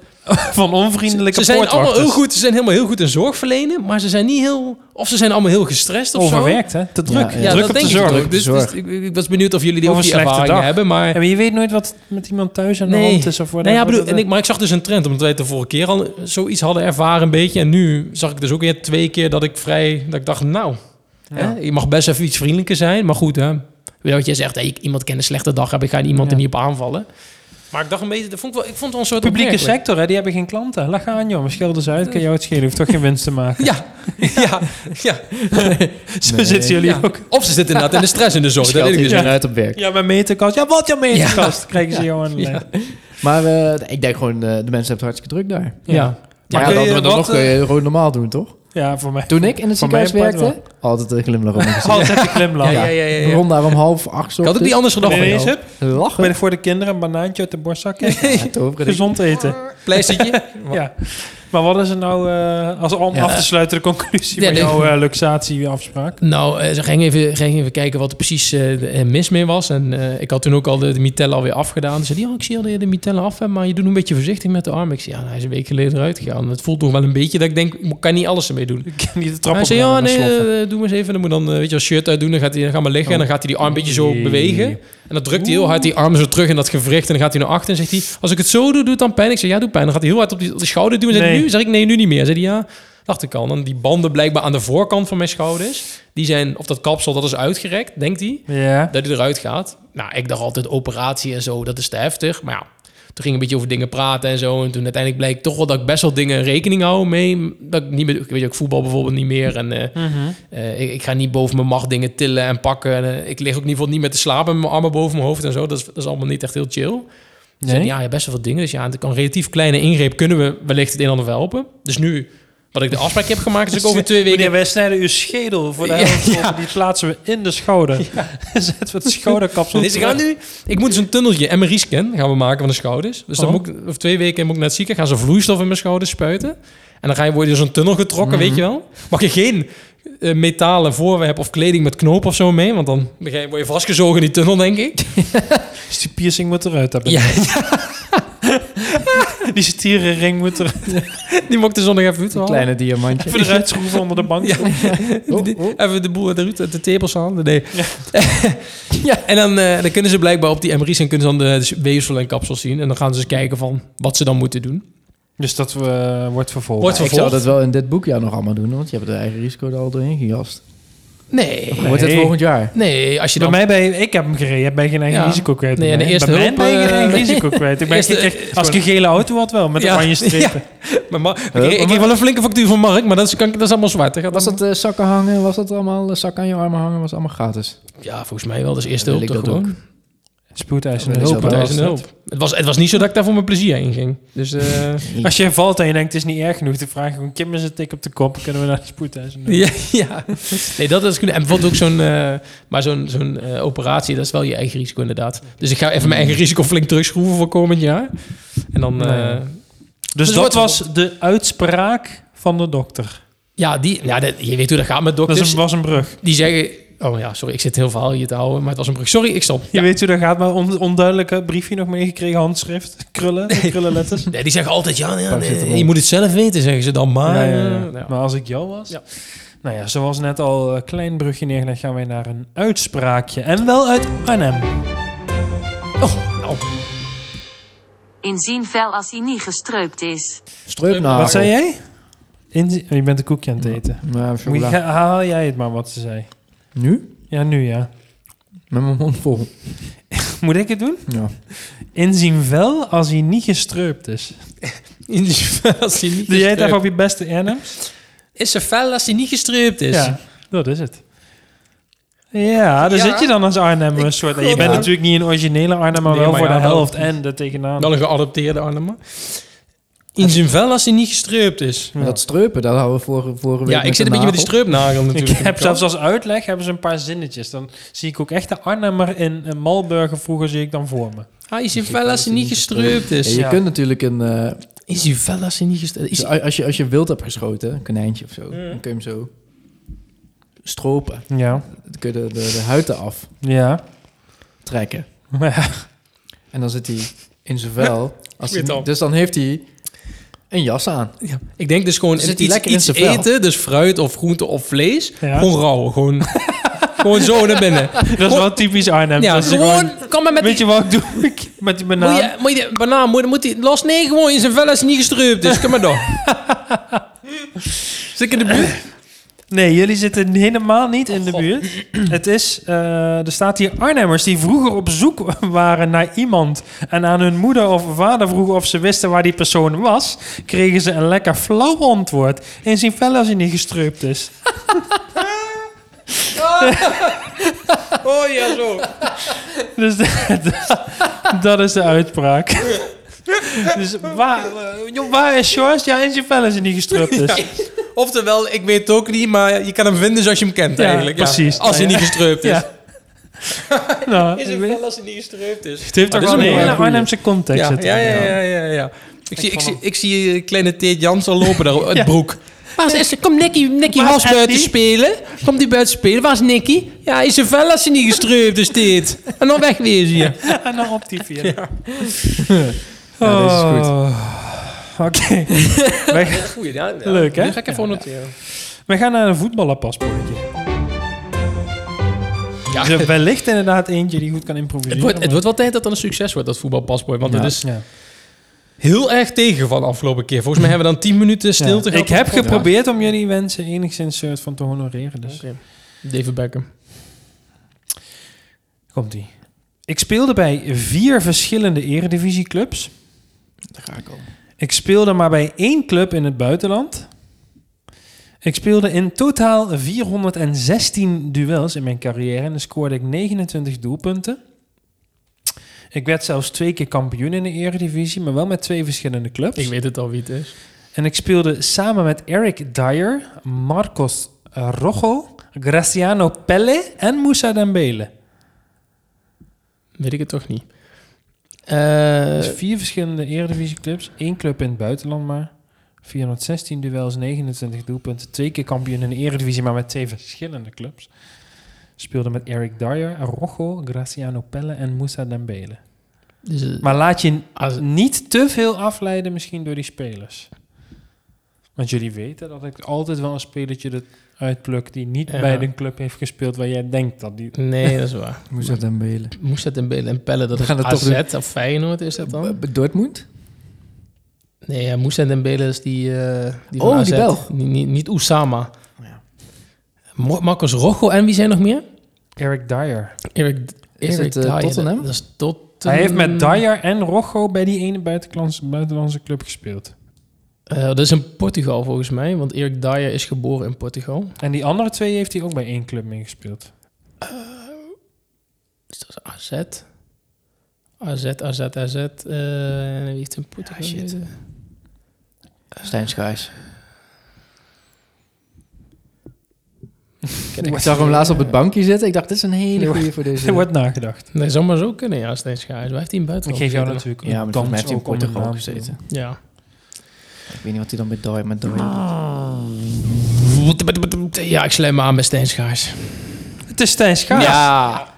van onvriendelijke ze zijn allemaal heel poortwachters. goed, ze zijn helemaal heel goed in zorg verlenen, maar ze zijn niet heel, of ze zijn allemaal heel gestrest of zo. Overwerkt, hè? Te druk. Ja, Ja, druk dat op denk de ik zorg. ook. Dus, dus ik, ik was benieuwd of jullie die Of ook een die slechte ervaring dag. hebben, maar Ja, maar je weet nooit wat met iemand thuis aan de Nee. hand is of whatever. Nou ja, bedoel, Dat- en ik, maar ik zag dus een trend, omdat wij het de vorige keer al zoiets hadden ervaren een beetje. En nu zag ik dus ook weer twee keer dat ik vrij, dat ik dacht, nou, hè, je mag best even iets vriendelijker zijn. Maar goed, hè, weet je wat jij zegt, hey, ik- iemand kent een slechte dag, heb ik ga iemand er Ja. niet op aanvallen. Maar ik dacht een beetje, dat vond ik, wel, ik vond het wel een soort Publieke opmerkelijk. sector, hè? Die hebben geen klanten. Lach aan, jongen. Schil dus uit. Kan jou het schelen. Je hoeft toch geen winst te maken. Ja, ja, ja, Zo Nee. zitten jullie ja. ook. Of ze zitten inderdaad in de stress in de zorg. Dat Scheldt weet ik dus iedereen niet. uit op werk. Ja, mijn meterkast. Ja, wat jouw meterkast? Krijgen ze Ja. jou aan de Ja. lijn. Maar eh, ik denk gewoon, eh, de mensen hebben het hartstikke druk daar. Ja. Ja. Maar Maar ja, kun dan, je dan wat, nog kun je gewoon normaal doen, toch? Ja, voor mij. Toen ik in het Van mij ziekenhuis apart werkte, altijd een glimlach om mijn gezicht. Altijd de glimlach. Ja, ja, ja, ja, ja. Rond daar om half acht Ik had ook dus- niet anders gedacht En van ineens, jou. hup, Lachen. ben ik voor de kinderen een banaantje uit de borstzak. Ja, tof, dat ik- Gezond eten. Pleistertje. Ja. Maar wat is er nou, eh, als om Ja. af te sluiten, de conclusie Ja, van nee. jouw eh, luxatieafspraak? Nou, eh, ze ging even, ging even kijken wat er precies eh, de- eh, mis mee was. En eh, ik had toen ook al de, de mitella alweer afgedaan. Ze zei, ja, ik zie al dat je de mitella af hebt, maar je doet een beetje voorzichtig met de arm. Ik zei, ja, nou, hij is een week geleden eruit gegaan. Het voelt toch wel een beetje dat ik denk, ik kan niet alles ermee doen. Ik kan niet de trap Hij op. zei, ja, nee, eh, doe maar eens even. Dan moet dan, eh, weet je, wel, shirt uitdoen. Dan gaat hij, dan ga maar liggen en dan gaat hij die arm een beetje zo Oh. Oei. bewegen. En dan drukt hij heel hard die arm zo terug in dat gewricht. En dan gaat hij naar achter en zegt hij, als ik het zo doe, doet het dan pijn? Ik zeg, ja, doe pijn. Dan gaat hij heel hard op, die, op de schouder doen. En zeg Nee. ik, nu? Zeg ik, nee, nu niet meer. Zeg hij, ja, dacht ik al. Dan die banden blijkbaar aan de voorkant van mijn schouders. Die zijn, of dat kapsel, dat is uitgerekt, denkt hij. Ja. Dat hij eruit gaat. Nou, ik dacht altijd operatie en zo, dat is te heftig. Maar ja, toen ging ik een beetje over dingen praten en zo. En toen uiteindelijk bleek toch wel dat ik best wel dingen rekening hou mee. Dat ik niet meer, ik weet ook voetbal bijvoorbeeld niet meer. En eh, Mhm. eh, ik, ik ga niet boven mijn macht dingen tillen en pakken. En, eh, ik lig ook in ieder geval niet meer te slapen met mijn armen boven mijn hoofd en zo. Dat is, dat is allemaal niet echt heel chill. Dus Nee? ja, je hebt best wel wat dingen. Dus ja, het kan een relatief kleine ingreep kunnen we wellicht het een en ander helpen. Dus nu, wat ik de afspraak heb gemaakt, is ook over twee weken... Dus Meneer, wij snijden uw schedel voor de Ja, helft. ja. open. Die plaatsen we in de schouder. Zetten we het schouderkapsel. Nee, ze gaan nu... Ik moet dus een tunneltje MRI-scan gaan we maken van de schouders. Dus dan Oh. moet ik, over twee weken moet ik naar het ziekenhuis, gaan ze vloeistof in mijn schouders spuiten. En dan ga je, word je dus een tunnel getrokken, weet je wel. Mag je geen eh, metalen voorwerp of kleding met knoop of zo mee, want dan ga je- word je vastgezogen in die tunnel, denk ik. Dus die piercing moet eruit hebben. Ja, Die stierenring moet er die mocht de zondag even uit halen. Kleine diamantje. even eruit schroeven onder de bank. Ja. Oh, Die- oh. Even de boel uit de, ruut, uit de tepels aan. Nee. Ja. en dan, eh, dan kunnen ze blijkbaar op die MRI's en kunnen ze dan de, de weefsel en kapsels zien. En dan gaan ze eens kijken van wat ze dan moeten doen. Dus dat eh, wordt vervolgd. Wordt Ik zou vervolgd? dat wel in dit boekjaar nog allemaal doen, want je hebt de eigen risico er al doorheen gejast. Nee. Wordt het Nee. volgend jaar? Nee, als je Bij dan... mij ben je- ik heb hem gereden. Jij bent geen eigen Ja. risico kwijt. Nee, en de Bij eerste mij hulp, ben je geen eh, eigen risico kwijt. Ik ben eerste- ik- ik- als ik een gele auto had wel, met Ja. oranje strepen. Maar Mar- ik, kreeg- ik kreeg wel een flinke factuur van Mark, maar dat is, kan, ik- dat is allemaal zwart. hè. Gaat Was dan- dat eh, zakken hangen? Was dat allemaal eh, zakken aan je armen hangen? Was allemaal gratis? Ja, volgens mij wel. Dat is eerste Ja, hulp wil toch ik dat gewoon? Spoedeisende Dat is hulp. wel hè, Tijdens was een dat. hulp. Het was, het was niet zo dat ik daar voor mijn plezier heen ging. Dus eh, Als je valt en je denkt, het is niet erg genoeg, dan vraag je gewoon Kim eens een tik op de kop. Dan kunnen we naar de spoedeisende hulp. ja, ja. Nee, dat is goed. En bijvoorbeeld ook zo'n eh, maar zo'n zo'n eh, operatie, dat is wel je eigen risico inderdaad. Dus ik ga even mijn eigen risico flink terugschroeven voor komend jaar. En dan... eh, Nee. Dus, Dus dat wordt- was de uitspraak van de dokter. ja, die, ja dat, je weet hoe dat gaat met Dat dokters. is een, was een brug. Die zeggen... Oh ja, sorry, ik zit heel verhaal hier te houden, maar het was een brug. Sorry, ik stop. Je weet hoe dat gaat, maar on, onduidelijke briefje nog meegekregen, handschrift, krullen, krullenletters. Nee, die zeggen altijd, ja, ja, nee, Paracetamol. je moet het zelf weten, zeggen ze dan maar. Ja, ja, Ah, eh, ja. nou ja. Maar als ik jou was... Ja. Nou ja, zoals net al een klein brugje neergelegd, gaan wij naar een uitspraakje. En wel uit Arnhem. Oh, nou, Inzien vel als hij niet gestreupt is. Streupnagel. Wat zei jij? In, oh, je bent een koekje aan het eten. Nou, Moet je, chocola. ga- haal jij het maar wat ze zei. Nu? Ja, nu ja. Met mijn mond vol. Moet ik het doen? Ja. Inzien wel als hij niet gestreupt is. in de als hij niet Doe jij het gestreupt- even op je beste Arnhem? Is ze fel als hij niet gestreupt is? Ja, dat is het. Ja, daar Ja. zit je dan als Arnhem een soort... Je Ja. bent natuurlijk niet een originele Arnhem, maar Nee, wel maar voor ja, de wel. helft en de tegenaan. Wel een geadopteerde Arnhem. In zijn vel als hij niet gestreupt is. Ja. Dat streupen, dat hadden we vorige, vorige week Ja, ik met zit de een beetje met die nagel. streupnagel natuurlijk. Ik heb zelfs als uitleg hebben ze een paar zinnetjes. Dan zie ik ook echt de Arnhemmer in, in Malburger vroeger zie ik dan voor me. Hij is in vel als hij niet gestreupt Ja, is. je Ja. kunt natuurlijk een... eh, Is hij vel als hij niet gestreupt is? Dus a- als, je, als je wild hebt geschoten, een konijntje of zo, dan kun je hem zo stropen. Ja. Dan kun je de, de, de huid eraf Ja. trekken. Maar En dan zit hij in zijn vel. Als hij weet niet- al. dus dan heeft hij een jas aan. Ja. Ik denk dus gewoon Zit hij iets, lekker in iets zijn vel? eten, dus fruit of groente of vlees. Ja. Gewoon rauw. Gewoon, gewoon zo naar binnen. dat is wel typisch Arnhem. Ja, Dat ze gewoon, kom maar met die weet je wat ik doe? Ik- Met die banaan. Moet je, moet je, banaan, moet, moet die, los nee, gewoon in zijn vel als hij niet gestreupt is. Kom maar door. Zit ik in de buurt? Nee, jullie zitten helemaal niet in de buurt. Het is, eh, er staat hier Arnhemmers die vroeger op zoek waren naar iemand en aan hun moeder of vader vroegen of ze wisten waar die persoon was, kregen ze een lekker flauw antwoord. In zijn vel als hij niet gestreupt is. Oh ja, zo. Dus dat, dat is de uitspraak. Dus waar, eh, joh, waar is George? Ja, in zijn vel is hij niet gestrupt is. Oftewel, ik weet het ook niet, maar je kan hem vinden zoals je hem kent Ja, eigenlijk. precies. Als hij Ja. niet gestreupt is. Ja. Nou, Is ik het weet- wel als hij niet gestreupt is? het heeft toch wel Ah, dit een is een mooie hele goeie. Arnhemse context. Ja, zit ja, erin. ja, ja, ja, ja. Ik, zie, ik, vond zie, hem- ik zie eh, kleine Teert Jans al lopen daar uit Ja. broek. Waar is, kom Nicky, Nicky Waar was is buiten Andy? spelen. Komt hij buiten spelen? Waar is Nicky? Ja, is zijn vel als hij niet gestreupt is, Teert. En dan wegwezen hier. En dan op die vier. Ja, deze is goed. Oké. wij, Goeie, ja, ja. Leuk, hè? Die ga ik even noteren. wij gaan naar een voetballerpaspoortje. Ja. Dus er wellicht inderdaad eentje die goed kan improviseren. Het wordt, het maar- wordt wel tijd dat dat een succes wordt, dat voetbalpaspoort. Want Ja. het is Ja. heel erg tegengevallen afgelopen keer. Volgens mij hebben we dan 10 minuten stilte Ja. Ik gehad. heb geprobeerd om jullie wensen enigszins soort van te honoreren. Dus. David Beckham. Komt ie. Ik speelde bij vier verschillende eredivisieclubs. Daar ga ik al. Ik speelde maar bij één club in het buitenland. Ik speelde in totaal 416 duels in mijn carrière en dan scoorde ik 29 doelpunten. Ik werd zelfs twee keer kampioen in de Eredivisie, maar wel met twee verschillende clubs. Ik weet het al wie het is. En ik speelde samen met Eric Dyer, Marcos Rojo, Graciano Pelle en Moussa Dembele. Weet ik het toch niet. Eh, Dus vier verschillende Eredivisieclubs, één club in het buitenland maar. 416 duels, 29 doelpunten, twee keer kampioen in de Eredivisie, maar met twee verschillende clubs. Speelde met Eric Dyer, Rojo, Graciano Pelle en Moussa Dembele. dus, eh, Maar laat je als- niet te veel afleiden misschien door die spelers. Want jullie weten dat ik altijd wel een spelertje dat uitpluk die niet Ja. bij de club heeft gespeeld waar jij denkt dat die... nee, dat is waar. Moest dat dan belen? Moest en Belen en Pelle, dat We is gaan het toch AZ of Feyenoord is dat dan? Eh, Dortmund? Nee, ja, Moest en Belen is die, eh, die van Oh, die AZ. Belg. Niet, niet, niet Oesama. Ja. Mo- Marcos Rojo en wie zijn nog meer? Eric Dyer. Erik, Is Erik het, eh, Dyer, Tottenham? Dat is Tottenham. Hij heeft met Dyer en Rojo bij die ene buitenlandse, buitenlandse club gespeeld. Eh, dat is in Portugal volgens mij, want Erik Dyer is geboren in Portugal. En die andere twee heeft hij ook bij één club meegespeeld. Dus dat is AZ. AZ, AZ, AZ. eh, en wie heeft in Portugal? Ja, shit. gezeten? Stijn Schaars. Ken Ik zag hem laatst op het bankje zitten. Ik dacht, dit is een hele goede voor Er deze. wordt nagedacht. Nee, zou maar zo kunnen, ja, Stijn Schaars. Waar heeft hij Ik in buitenland geef jou gezeten? natuurlijk Ja, maar een volgens kans mij heeft hij in ook om een Portugal naam te gezeten. Ja. Ik weet niet wat hij dan met Dooi met Dooi. Ah. Ja, ik sluit me aan bij Stijn Schaars. noemen. Het is Stijn Schaars. Ja,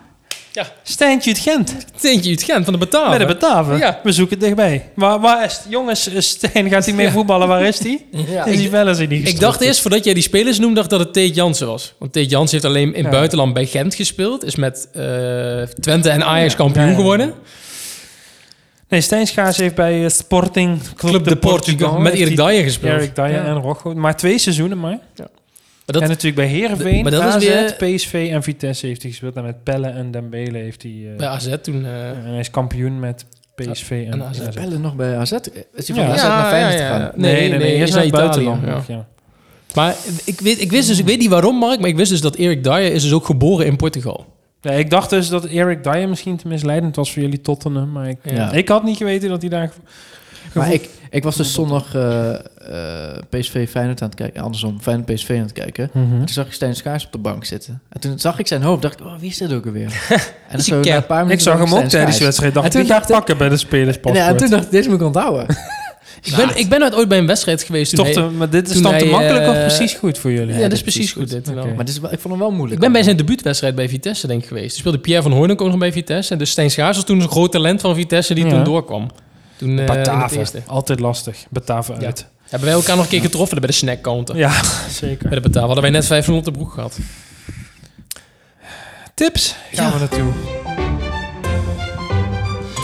Stijntje het Gent. Steentje uit Gent van de Bij Bataven. de Bataven. Oh, Ja. We zoeken het dichtbij. Waar, waar is Jongens, eh, Stijn gaat hij mee Ja. voetballen. Waar is hij? Ja. Is hij wel eens in die ik gestopt? dacht eerst, voordat jij die spelers noemde, dacht dat het Teet Jansen was. Want Teet Jansen heeft alleen in Ja. buitenland bij Gent gespeeld. Is met eh, Twente en Ajax kampioen Ja, ja, ja. geworden. Nee, Stijn Schaars heeft bij eh, Sporting Club, Club de Portugal. Met heeft Erik hij- Dyer gespeeld. Erik Dyer Ja. en Rojo. Maar twee seizoenen maar. Maar dat, en natuurlijk bij Heerenveen, Maar dat is AZ, weer- PSV en Vitesse heeft hij gespeeld. En met Pelle en Dembele heeft hij... eh, bij AZ toen... eh, En hij is kampioen met PSV en, En AZ. AZ. bellen nog bij AZ. Is hij van Ja. AZ naar Feyenoord gegaan? Nee, nee, nee, eerst naar het Italië, buitenland. ja. nog, Ja. Maar ik, weet, ik wist dus, ik weet niet waarom Mark, maar ik wist dus dat Erik Dyer is dus ook geboren in Portugal. Nee, ik dacht dus dat Eric Dyer misschien te misleidend was voor jullie Tottenham. Maar ik, Ja. ik had niet geweten dat hij daar... Maar ik, ik was dus zondag eh, eh, PSV Feyenoord aan het kijken. Andersom, Feyenoord PSV aan het kijken. Mhm. Dus En toen zag ik Stijn Schaars op de bank zitten. En toen zag ik zijn hoofd. dacht ik, oh, wie is dit ook alweer? En dan een zo na cap. een paar Ik minuten zag zag hem ook Stijn tijdens de Schaars. wedstrijd. Dacht, En toen ik, die ga dacht ik- pakken bij de En, spelerspaspoort. ja, en toen dacht ik, deze moet ik onthouden. Ik ben, ik ben ooit bij een wedstrijd geweest toen Toch te- hij- maar dit is toen dan te hij, makkelijk eh, of dus precies goed voor jullie? Ja, dat is precies goed. Dit, wel. Oké. Maar dit is wel, ik vond hem wel moeilijk. Ik ben bij zijn debuutwedstrijd bij Vitesse denk ik geweest. Toen speelde Pierre van Hooydonk ook nog bij Vitesse. En dus Stijn Schaars was toen een groot talent van Vitesse die Ja. toen doorkwam. Toen, eh, in het eerste. Bataven, altijd lastig. Bataven Ja. uit. Hebben wij elkaar nog een keer getroffen bij de snackcounter. Ja, zeker. Bij de Bataven hadden wij net 500 op de broek gehad. Tips gaan we naartoe.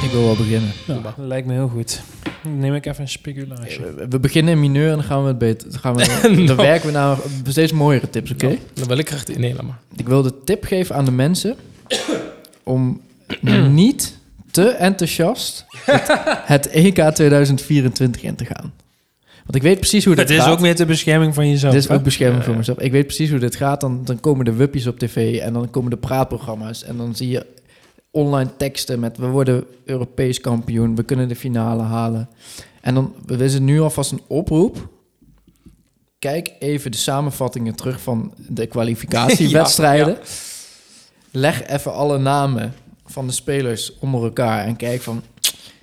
Ik wil wel beginnen. Ja, dat lijkt me heel goed. Dan neem ik even een spigulaasje. We, we beginnen in mineur en dan gaan we het beter. Dan, gaan we, dan werken we naar steeds mooiere tips, oké? Nou, dan wil ik graag... Nee, laat maar. Ik wil de tip geven aan de mensen om niet te enthousiast het, E het EK 2024 in te gaan. Want ik weet precies hoe dit Het is gaat. ook meer de bescherming van jezelf. dit is hè? ook bescherming voor mezelf. Ik weet precies hoe dit gaat. Dan, dan komen de wuppies op tv en dan komen de praatprogramma's. En dan zie je online teksten met... we worden Europees kampioen, we kunnen de finale halen. En dan is het nu alvast een oproep. Kijk even de samenvattingen terug van de kwalificatiewedstrijden. Leg even alle namen van de spelers onder elkaar... en kijk van,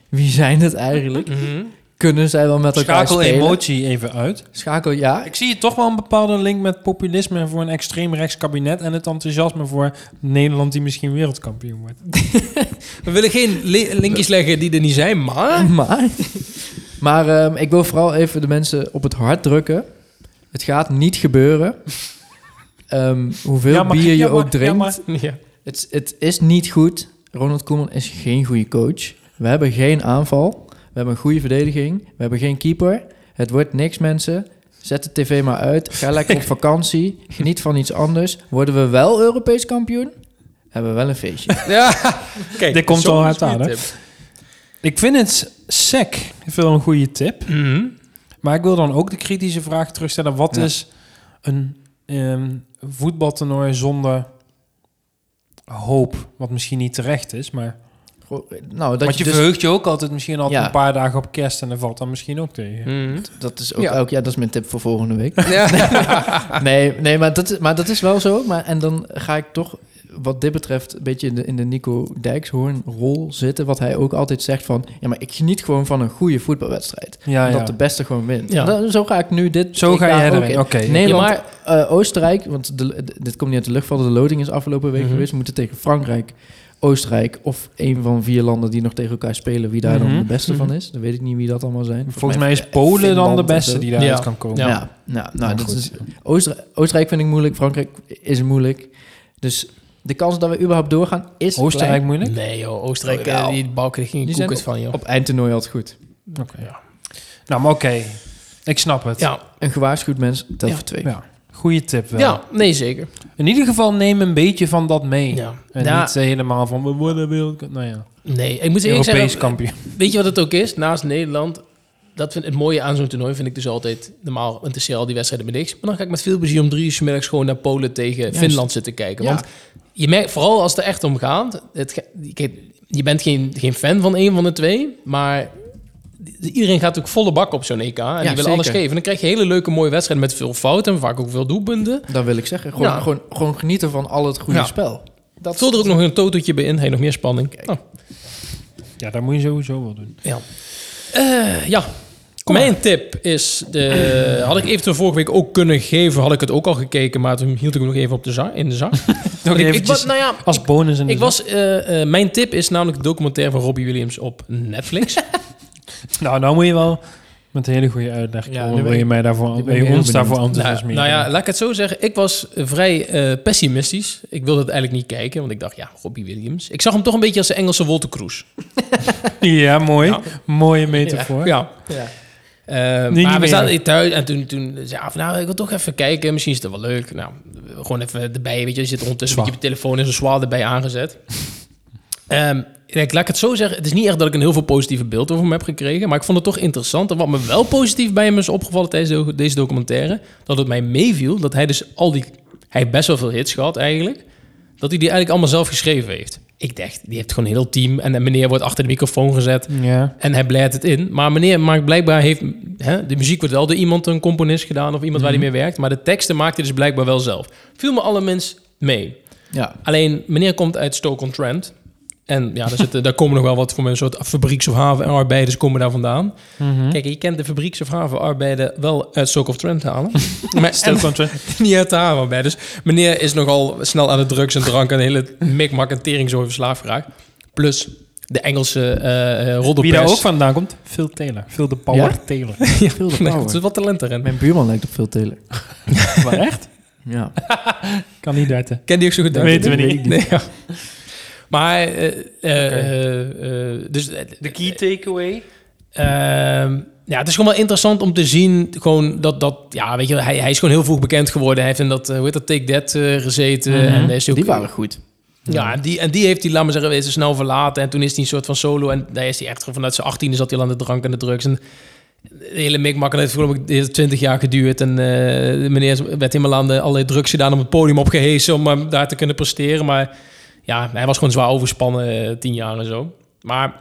wie zijn het eigenlijk? Kunnen zij wel met elkaar Mhm. Schakel spelen? emotie even uit. Schakel, ja. Ik zie hier toch wel een bepaalde link met populisme voor een extreem rechts kabinet en het enthousiasme voor Nederland die misschien wereldkampioen wordt. We willen geen li- linkjes leggen die er niet zijn, Oh maar... Maar, maar ehm, ik wil vooral even de mensen op het hart drukken. Het gaat niet gebeuren. Ehm, hoeveel Ja, maar- bier je ja, maar- ook drinkt. ja, maar- Ja. het, het is niet goed. Ronald Koeman is geen goede coach. We hebben geen aanval. We hebben een goede verdediging. We hebben geen keeper. Het wordt niks, mensen. Zet de tv maar uit. Ga lekker op vakantie. Geniet van iets anders. Worden we wel Europees kampioen? Hebben we wel een feestje. Ja. Kijk, Dit komt zo'n al hard goede aan, hè? tip. Ik vind het sec. Ik vind wel een goede tip. Mhm. Maar ik wil dan ook de kritische vraag terugstellen. Wat Ja. is een ehm voetbaltoernooi zonder hoop? Wat misschien niet terecht is, maar Goh, Nou, dat Want je je dus- verheugt je ook altijd misschien altijd Ja. een paar dagen op kerst en dan valt dat misschien ook tegen. dat is ook Ja. elk jaar, dat is mijn tip voor volgende week. Mhm. Ja. nee, nee maar, dat, is- maar dat is wel zo. Maar, en dan ga ik toch, wat dit betreft, een beetje in de, in de Nico Dijkshoorn-rol zitten. Wat hij ook altijd zegt van... Ja, maar ik geniet gewoon van een goede voetbalwedstrijd. Ja, dat ja. de beste gewoon wint. Ja. Dan- zo ga ik nu dit... Zo ik ga daar jij ook erin. in. Oké. Nee, Ja, maar Oostenrijk... Want de, de- dit komt niet uit de lucht vallen. De loting is afgelopen week Mhm. geweest. We moeten tegen Frankrijk, Oostenrijk... of een van vier landen die nog tegen elkaar spelen... wie daar Mhm. dan de beste Mhm. van is. Dan weet ik niet wie dat allemaal zijn. Volgens mij is Polen dan Finland de of beste zo. die daaruit Ja. kan komen. Ja. Ja, nou, nou, Maar dat goed. is, Oostenrijk, Oostenrijk vind ik moeilijk, Frankrijk is moeilijk. Dus de kans dat we überhaupt doorgaan is Oostenrijk klein. moeilijk. Nee joh, Oostenrijk, Jawel. eh, die balken die gingen Die zijn koekers van joh. Op eindtoernooi altijd goed. Nou, maar oké. Ik snap het. Ja. Een gewaarschuwd mens telt Ja. voor twee. Ja. Goeie tip wel. ja, nee zeker. In ieder geval neem een beetje van dat mee. Ja. En Ja, niet eh, helemaal van, we worden wereld... Nou ja, nee, ik moet eerlijk Europees zeggen, kampioen. weet je wat het ook is? Naast Nederland, dat vind het mooie aan zo'n toernooi vind ik dus altijd, normaal interesseer al die wedstrijden me niks. Maar dan ga ik met veel plezier om drie uur 's middags gewoon naar Polen tegen Finland zitten kijken. Ja. Want je merkt, vooral als het er echt om gaat, het, ge- kijk, je bent geen, geen fan van een van de twee, maar iedereen gaat ook volle bak op zo'n EK. En die willen alles zeker. geven. En dan krijg je hele leuke mooie wedstrijden met veel fouten en vaak ook veel doelpunten. Dat wil ik zeggen. Gewoon, Ja. gewoon, gewoon genieten van al het goede Ja. spel. Dat Vul er ook nog een totootje bij in. Hey, nog meer spanning. Oh, Ja, dat moet je sowieso wel doen. ja. Eh, ja. Mijn tip is, de, had ik eventueel vorige week ook kunnen geven, had ik het ook al gekeken, maar toen hield ik hem nog even op de za- in de zak. Nog ik, ik, eventjes was- nou ja, als bonus dus- in de ik was, eh, eh, mijn tip is namelijk de documentaire van Robbie Williams op Netflix. Nou, nou moet je wel met een hele goede uitleg Ja, komen. nu wil ben je ik- mij nu daarvoor, ben wil ik je heel ons daarvoor benieuwd. nou, enthousiasmeren? nou ja, laat ik het zo zeggen. Ik was eh, vrij eh, pessimistisch. Ik wilde het eigenlijk niet kijken, want ik dacht, ja, Robbie Williams. Ik zag hem toch een beetje als de Engelse Walter Cruz. Ja, nou, mooi. Mooie metafoor. Ja. Eh, niet maar we meer. zaten thuis en toen, toen zei hij, nou, ik wil toch even kijken. Misschien is het wel leuk. Nou, gewoon even erbij, weet je. Je zit er ondertussen met je telefoon en zo'n zwaal erbij aangezet. Ehm, kijk, laat ik het zo zeggen. Het is niet echt dat ik een heel veel positieve beeld over hem heb gekregen. Maar ik vond het toch interessant. En wat me wel positief bij hem is opgevallen tijdens de- deze documentaire... dat het mij meeviel dat hij dus al die... Hij heeft best wel veel hits gehad eigenlijk. Dat hij die eigenlijk allemaal zelf geschreven heeft. Ik dacht, die heeft gewoon een heel team. En de meneer wordt achter de microfoon gezet. Ja. En hij blijft het in. Maar meneer maakt blijkbaar heeft. Hè, de muziek wordt wel door iemand een componist gedaan of iemand waar Mhm. hij mee werkt. Maar de teksten maakt hij dus blijkbaar wel zelf. Viel me alle mens mee. Ja. Alleen meneer komt uit Stoke-on-Trent. En ja, daar, zitten, daar komen nog wel wat voor een soort fabrieks- of havenarbeiders komen daar vandaan. Mhm. Kijk, je kent de fabrieks- of havenarbeider wel uit Stoke-on-Trent halen. maar Stil control. niet uit de havenarbeiders. Meneer is nogal snel aan de drugs en drank en de hele mikmak en tering zo verslaafd geraakt. Plus de Engelse eh eh, Wie roddelpers. daar ook vandaan komt? Phil Taylor. Phil de Power Ja? Taylor. Veel de Nee, power. er zit wat talent erin. Mijn buurman lijkt op veel Taylor. maar echt? Ja. Kandidaten. Ken die ook zo goed? Dat denk ik. weten we niet. Nee, ja. Maar, eh, eh, eh, eh, dus, eh, key takeaway. ehm, ja, het is gewoon wel interessant om te zien, gewoon dat, dat ja, weet je, wel, hij, hij is gewoon heel vroeg bekend geworden. Hij heeft in dat, eh, hoe heet dat, Take That eh, gezeten. Mhm. en is ook, Die waren goed. Ja, en die, en die heeft hij, laat maar zeggen, wezen snel verlaten. En toen is hij een soort van solo. En daar is hij echt gewoon vanuit zijn 18 zat hij al aan de drank en de drugs. En de hele mikmak en het heeft geloof ik 20 jaar geduurd. En eh, de meneer is- werd helemaal aan de, allerlei drugs gedaan om het podium opgehezen om eh, daar te kunnen presteren. Maar ja, hij was gewoon zwaar overspannen, eh, 10 jaar en zo. Maar,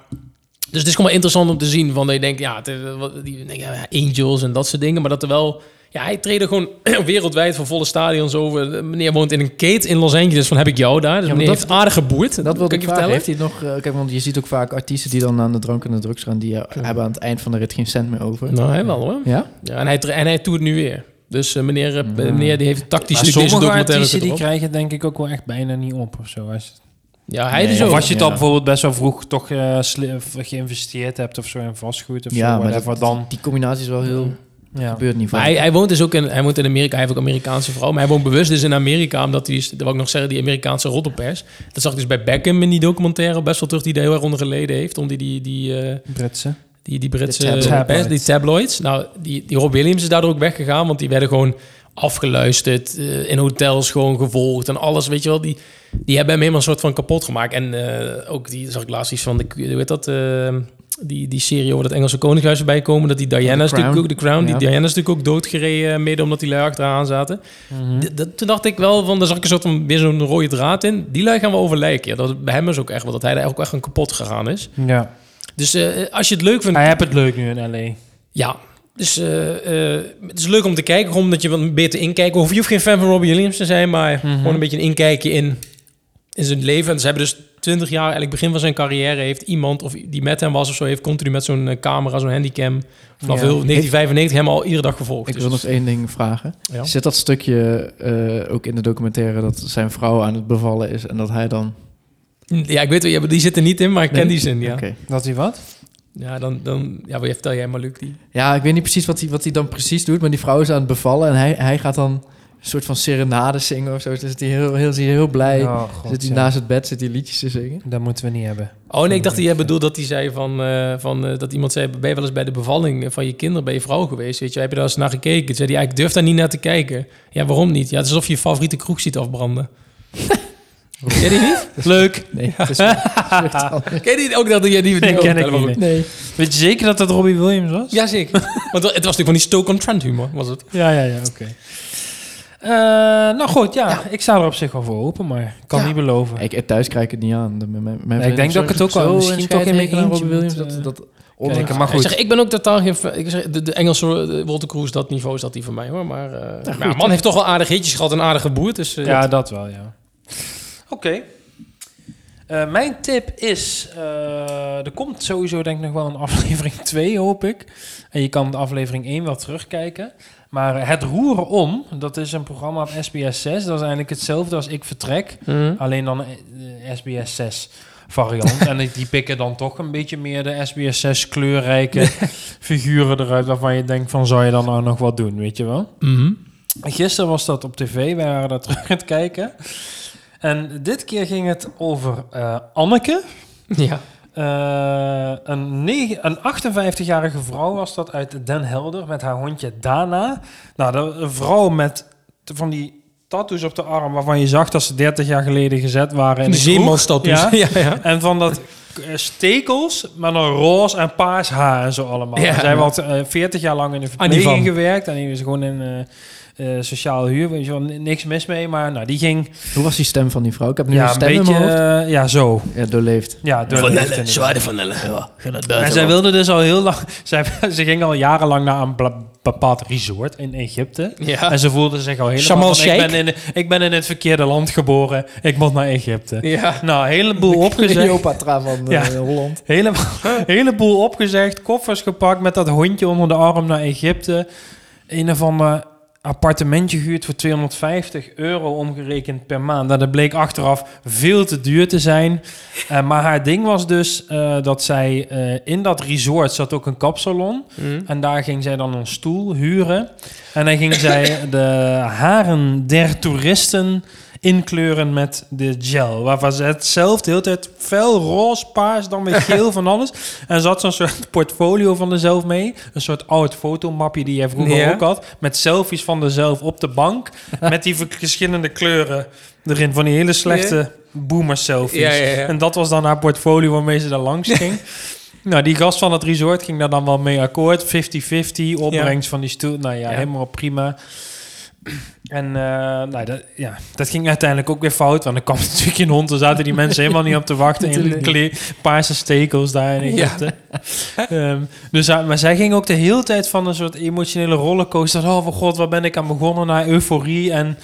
dus het is gewoon wel interessant om te zien van dat je denkt, ja, het, eh, wat- die, denk, ja, angels en dat soort dingen. Maar dat er wel, ja, hij treedde gewoon wereldwijd voor volle stadions over. De meneer woont in een keet in Los Angeles, van heb ik jou daar. Dus maar meneer dat- heeft aardig geboerd. Dat kan wilde je ik vragen. vertellen. Heeft hij het nog... eh, kijk, want je ziet ook vaak artiesten die dan aan de drank en de drugs gaan... die eh, hebben aan het eind van de rit geen cent meer over. Nou, hij wel hoor. Ja? Ja, en, hij, tra- en hij toert nu weer. Dus eh, meneer, eh, meneer die heeft tactisch Mm. Maar natuurlijk deze sommige documentaire artiesten die erop. krijgen het denk ik ook wel echt bijna niet op of zo. Als, Ja, hij Nee, dus Zo, of ook. als je het al ja. bijvoorbeeld best wel vroeg toch eh, sli- of geïnvesteerd hebt of zo in vastgoed of Ja, zo. maar whatever, dat, dan... die combinatie is wel heel... Ja. Gebeurt niet Maar vaak. hij, hij woont dus ook in, hij woont in Amerika, hij heeft ook Amerikaanse vrouw. Maar hij woont bewust dus in Amerika, omdat hij, is- dat wil ik nog zeggen, die Amerikaanse roddelpers. Dat zag ik dus bij Beckham in die documentaire best wel terug, die daar heel erg onder geleden heeft. Om die, die, die, eh, Britse. die, die Britse De tabloids. pers, die tabloids. Nou, die, die Rob Williams is daardoor ook weggegaan, want die werden gewoon afgeluisterd, eh, in hotels gewoon gevolgd en alles, weet je wel. Die, die hebben hem helemaal een soort van kapot gemaakt. En eh, ook, die zag ik laatst iets van, de, hoe heet dat, eh, die, die serie over het Engelse Koningshuis erbij komen. Dat die Diana's, The natuurlijk ook, Crown. de Crown, die Ja. Diana's natuurlijk ook doodgereden, eh, mede omdat die lui achteraan zaten. Mhm. D- dat- toen dacht ik wel van, daar zag ik een soort van weer zo'n rode draad in. Die lui gaan we overlijken. Ja, dat bij hem is ook echt wel dat hij daar ook echt aan kapot gegaan is. Ja. Dus eh, als je het Ah leuk vindt, Hij hebt het leuk nu in L.A. ja. Dus eh, eh, het is leuk om te kijken, gewoon omdat je wat beter inkijken. hoeft. Je hoeft geen fan van Robbie Williams te zijn, maar Mhm. gewoon een beetje een inkijkje in, in zijn leven. En ze hebben dus 20 jaar, eigenlijk begin van zijn carrière, heeft iemand of die met hem was of zo, heeft continu met zo'n eh, camera, zo'n handicam, vanaf Ja. heel 1995 hem al iedere dag gevolgd. Ik Dus wil nog dat is- één ding vragen. ja. Zit dat stukje eh, ook in de documentaire dat zijn vrouw aan het bevallen is en dat hij dan... ja, ik weet wel, ja, maar die zit er niet in, maar ik ken Nee? die zin, ja. Oké. Dat hij wat? Ja, dan, dan ja, wil je- vertel jij maar, Luc, die... Ja, ik weet niet precies wat hij, wat hij dan precies doet, maar die vrouw is aan het bevallen en hij, hij gaat dan een soort van serenade zingen of zo. Dus is hij heel, heel, is hij heel blij. Oh, god, zit hij ja. naast het bed, zit hij liedjes te zingen. Dat moeten we niet hebben. Oh nee, ik dacht dat jij bedoelde dat hij zei van, eh, van eh, dat iemand zei, ben je wel eens bij de bevalling van je kinderen, bij je vrouw geweest, weet je, heb je daar eens naar gekeken? Toen zei hij, ja, ik durf daar niet naar te kijken. Ja, waarom niet? Ja, het is alsof je je favoriete kroeg ziet afbranden. Ken je die niet? Leuk. Nee, het is, het is echt anders. Ken je die ook dat jij die... Nee, oh, ken ik helemaal niet, goed. Nee. Weet je zeker dat dat Robbie Williams was? Ja, zeker. Want het was natuurlijk van die Stoke-on-Trent humor, was het. Ja, ja, ja, oké. Eh, nou goed, ja, ik sta er op zich wel voor open, maar ik kan Ja. niet beloven. Ik, thuis krijg ik het niet aan. De- mijn- mijn vriendin denk dat ik het ook wel zo misschien in toch in scheid mijn heen aan eentje Robbie Williams moet, dat, eh, dat kijken, ondanks- maar Ik goed. zeg, ik ben ook totaal geen... fa- Ik zeg, de, de Engelse eh, Walter Cruz, dat niveau is dat die voor mij hoor. Maar eh nou, man heeft toch wel aardig hitjes gehad en aardige boer. Dus, eh, Ja, dat wel, ja. Oké. Eh, mijn tip is, eh, er komt sowieso denk ik nog wel een aflevering 2, hoop ik. En je kan de aflevering 1 wel terugkijken. Maar eh, Het Roeren Om, dat is een programma op SBS 6. Dat is eigenlijk hetzelfde als Ik Vertrek. Mhm. Alleen dan eh, SBS 6 variant. en die pikken dan toch een beetje meer de SBS 6 kleurrijke figuren eruit... waarvan je denkt van, zou je dan nou nog wat doen, weet je wel? Mhm. Gisteren was dat op tv, wij waren daar terug aan het kijken. En dit keer ging het over eh, Anneke. Ja. Eh, een, nege- een 58-jarige vrouw was dat uit Den Helder met haar hondje Dana. Nou, de, een vrouw met t- van die tattoos op de arm waarvan je zag dat ze 30 jaar geleden gezet waren. In Een de kroeg. zeemansstad dus. Ja. ja, ja. En van dat eh, stekels, maar dan roze en paars haar en zo allemaal. Ja. Zij had eh 40 jaar lang in de Annie verpleging van. gewerkt. En die is gewoon in eh, eh, sociaal huur. Weet je wel, n- niks mis mee, maar nou, die ging Hoe was die stem van die vrouw? Ik heb nu ja, een een stem in beetje... mijn hoofd. eh, ja, zo. Ja, doorleefd. Ja, door de lift inderdaad. vanille. Ja, ga dat En zij wilde dus al heel lang... Zij, ze ging al jarenlang naar een bla- bepaald resort in Egypte. Ja. En ze voelde zich al helemaal... Shamal van, ik, Sheikh? ben in, ik ben in het verkeerde land geboren. Ik moet naar Egypte. Ja. Nou, een heleboel opgezegd. Cleopatra van eh, Ja. Holland. Helemaal, heleboel opgezegd, koffers gepakt met dat hondje onder de arm naar Egypte. Een of ander appartementje gehuurd voor 250 euro omgerekend per maand. Nou, dat bleek achteraf veel te duur te zijn. Eh, maar haar ding was dus eh, dat zij eh, in dat resort zat ook een kapsalon. En daar ging zij dan een stoel huren. En dan ging zij de haren der toeristen inkleuren met de gel. Waarvan ze hetzelfde de hele tijd fel roze, paars, dan weer geel van alles. En ze had zo'n soort portfolio van dezelf mee. Een soort oud fotomapje die jij vroeger Ja. ook had. Met selfies van dezelf op de bank. Met die verschillende kleuren erin. Van die hele slechte boomer selfies. Ja, ja, ja. En dat was dan haar portfolio waarmee ze daar langs ging. Nou, die gast van het resort ging daar dan wel mee akkoord. 50-50, opbrengst van die stoel. Nou ja, Ja. helemaal prima. En eh, nou, dat, ja, dat ging uiteindelijk ook weer fout. Want er kwam natuurlijk een hond. Daar zaten die mensen helemaal niet op te wachten. In Natuurlijk kle- paarse stekels daar in Ja. Egypte. Ehm, dus, haar- maar zij ging ook de hele tijd van een soort emotionele rollercoaster. Oh mijn god, waar ben ik aan begonnen? Naar euforie en...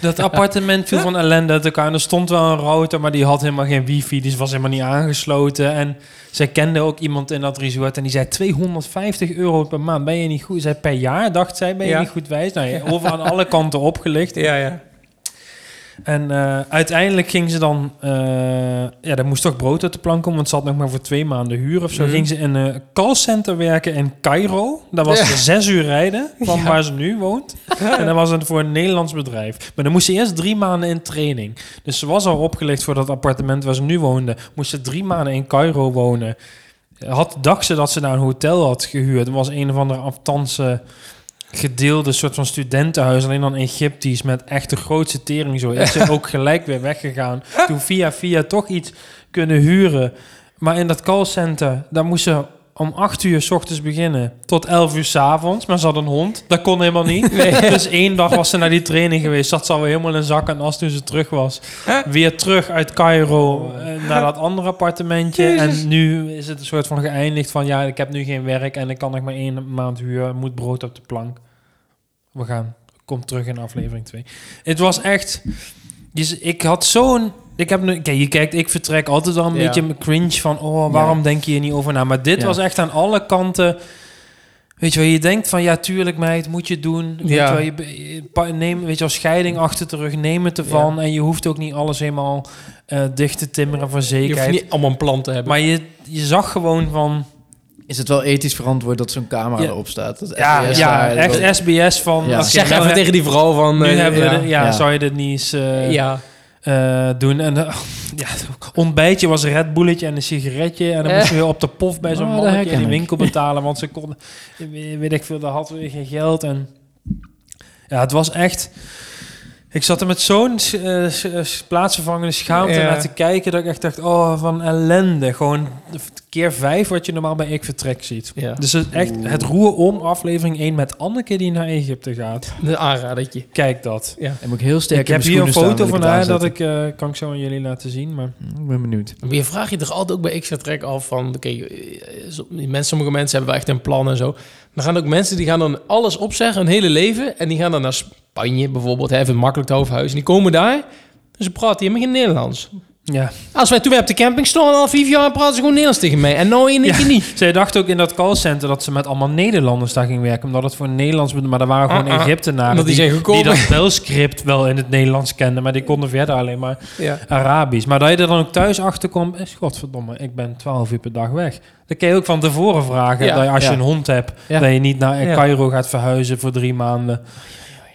Dat appartement viel van ellende uit elkaar. En er stond wel een router, maar die had helemaal geen wifi. Dus was helemaal niet aangesloten. En zij kende ook iemand in dat resort. En die zei 250 euro per maand. Ben je niet goed? Zij per jaar, dacht zij. Ben je Ja. niet goed wijs? Nou, ja, over aan alle kanten opgelicht. Ja, ja. En eh, uiteindelijk ging ze dan... eh, ja, er moest toch brood uit de plank komen. Want ze had nog maar voor twee maanden huur of zo. Mhm. Ging ze in een callcenter werken in Cairo. Dat was Ja. zes uur rijden van Ja. waar ze nu woont. En dat was het voor een Nederlands bedrijf. Maar dan moest ze eerst drie maanden in training. Dus ze was al opgelicht voor dat appartement waar ze nu woonde. Moest ze drie maanden in Cairo wonen. Had, dacht ze dat ze daar een hotel had gehuurd. Het was een of andere aftanse gedeelde soort van studentenhuis. Alleen dan Egyptisch met echt de grootste tering. Zo is ze ook gelijk weer weggegaan. Toen via via toch iets kunnen huren. Maar in dat callcenter, daar moesten ze om 8 uur s ochtends beginnen tot 11 uur s avonds. Maar ze had een hond, dat kon helemaal niet. Dus één dag was ze naar die training geweest. Zat ze alweer helemaal in zak en as toen ze terug was. Weer terug uit Cairo eh, naar dat andere appartementje. En nu is het een soort van geëindigd van... ja, ik heb nu geen werk en ik kan nog maar één maand huur. Moet brood op de plank. We gaan, kom terug in aflevering 2. Het was echt... Dus ik had zo'n... Ik heb nu, kijk, je kijkt, ik vertrek altijd al een Ja. beetje cringe van... oh, waarom Ja. denk je hier niet over na? Maar dit Ja. was echt aan alle kanten... Weet je wel, je denkt van ja, tuurlijk meid, moet je doen. Weet Ja. je wel, je, be- je pa- neem, weet je wel, scheiding achter de rug, neem het ervan. En je hoeft ook niet alles helemaal eh, dicht te timmeren voor Je hoeft zekerheid. niet allemaal een plan te hebben. maar je, je zag gewoon van... Is het wel ethisch verantwoord dat zo'n camera Ja. erop staat? Dat Ja, SBS ja, daar- echt dat- SBS van... Ja. oké, zeg nou, even hè, tegen die vrouw van... nu eh, hebben we ja. de- ja, Ja. zou je dit niet eens eh, ja. eh, doen? En eh, ja, ontbijtje was een Red Bulletje en een sigaretje. En dan Eh. moesten we weer op de pof bij zo'n Oh, dat mannetje in herken die ik. winkel betalen. Want ze konden, weet ik veel, daar hadden we geen geld. En ja, het was echt... Ik zat er met zo'n eh, s- eh, s- plaatsvervangende schaamte Ja. naar te kijken... dat ik echt dacht, oh, van ellende. Gewoon keer vijf wat je normaal bij Ik Vertrek ziet. Ja. Dus het, echt het roer om aflevering 1 met Anneke die naar Egypte gaat. Een aanradertje. Kijk dat. En moet ik heel sterk Ik heb in hier mijn een schoenen foto van staan, haar wil dat ik ik eh, kan ik zo aan jullie laten zien, maar het aanzetten. Ik ben benieuwd. Maar je vraagt je toch altijd ook bij extra trek af van... Oké, eh, som- die mensen, sommige mensen hebben wel echt een plan en zo. Dan gaan ook mensen die gaan dan alles opzeggen, hun hele leven. En die gaan dan naar Spanje bijvoorbeeld, hè, even makkelijk het hoofdhuis. En die komen daar en ze praten helemaal geen Nederlands. ja. Als wij toen weer op de camping stonden, al vier jaar praten ze gewoon Nederlands tegen mij. En nou in één keer niet. Zij dacht ook in dat callcenter dat ze met allemaal Nederlanders daar ging werken, omdat het voor een Nederlands... Maar er waren gewoon Ah, ah. Egyptenaren Omdat die zijn die gekomen. dat belscript wel in het Nederlands kenden, maar die konden verder alleen maar ja. Arabisch. Maar dat je er dan ook thuis achter komt, is godverdomme, ik ben 12 uur per dag weg. Dat kan je ook van tevoren vragen, Ja, dat je, als ja. je een hond hebt, Ja. dat je niet naar eh, Ja. Cairo gaat verhuizen voor drie maanden.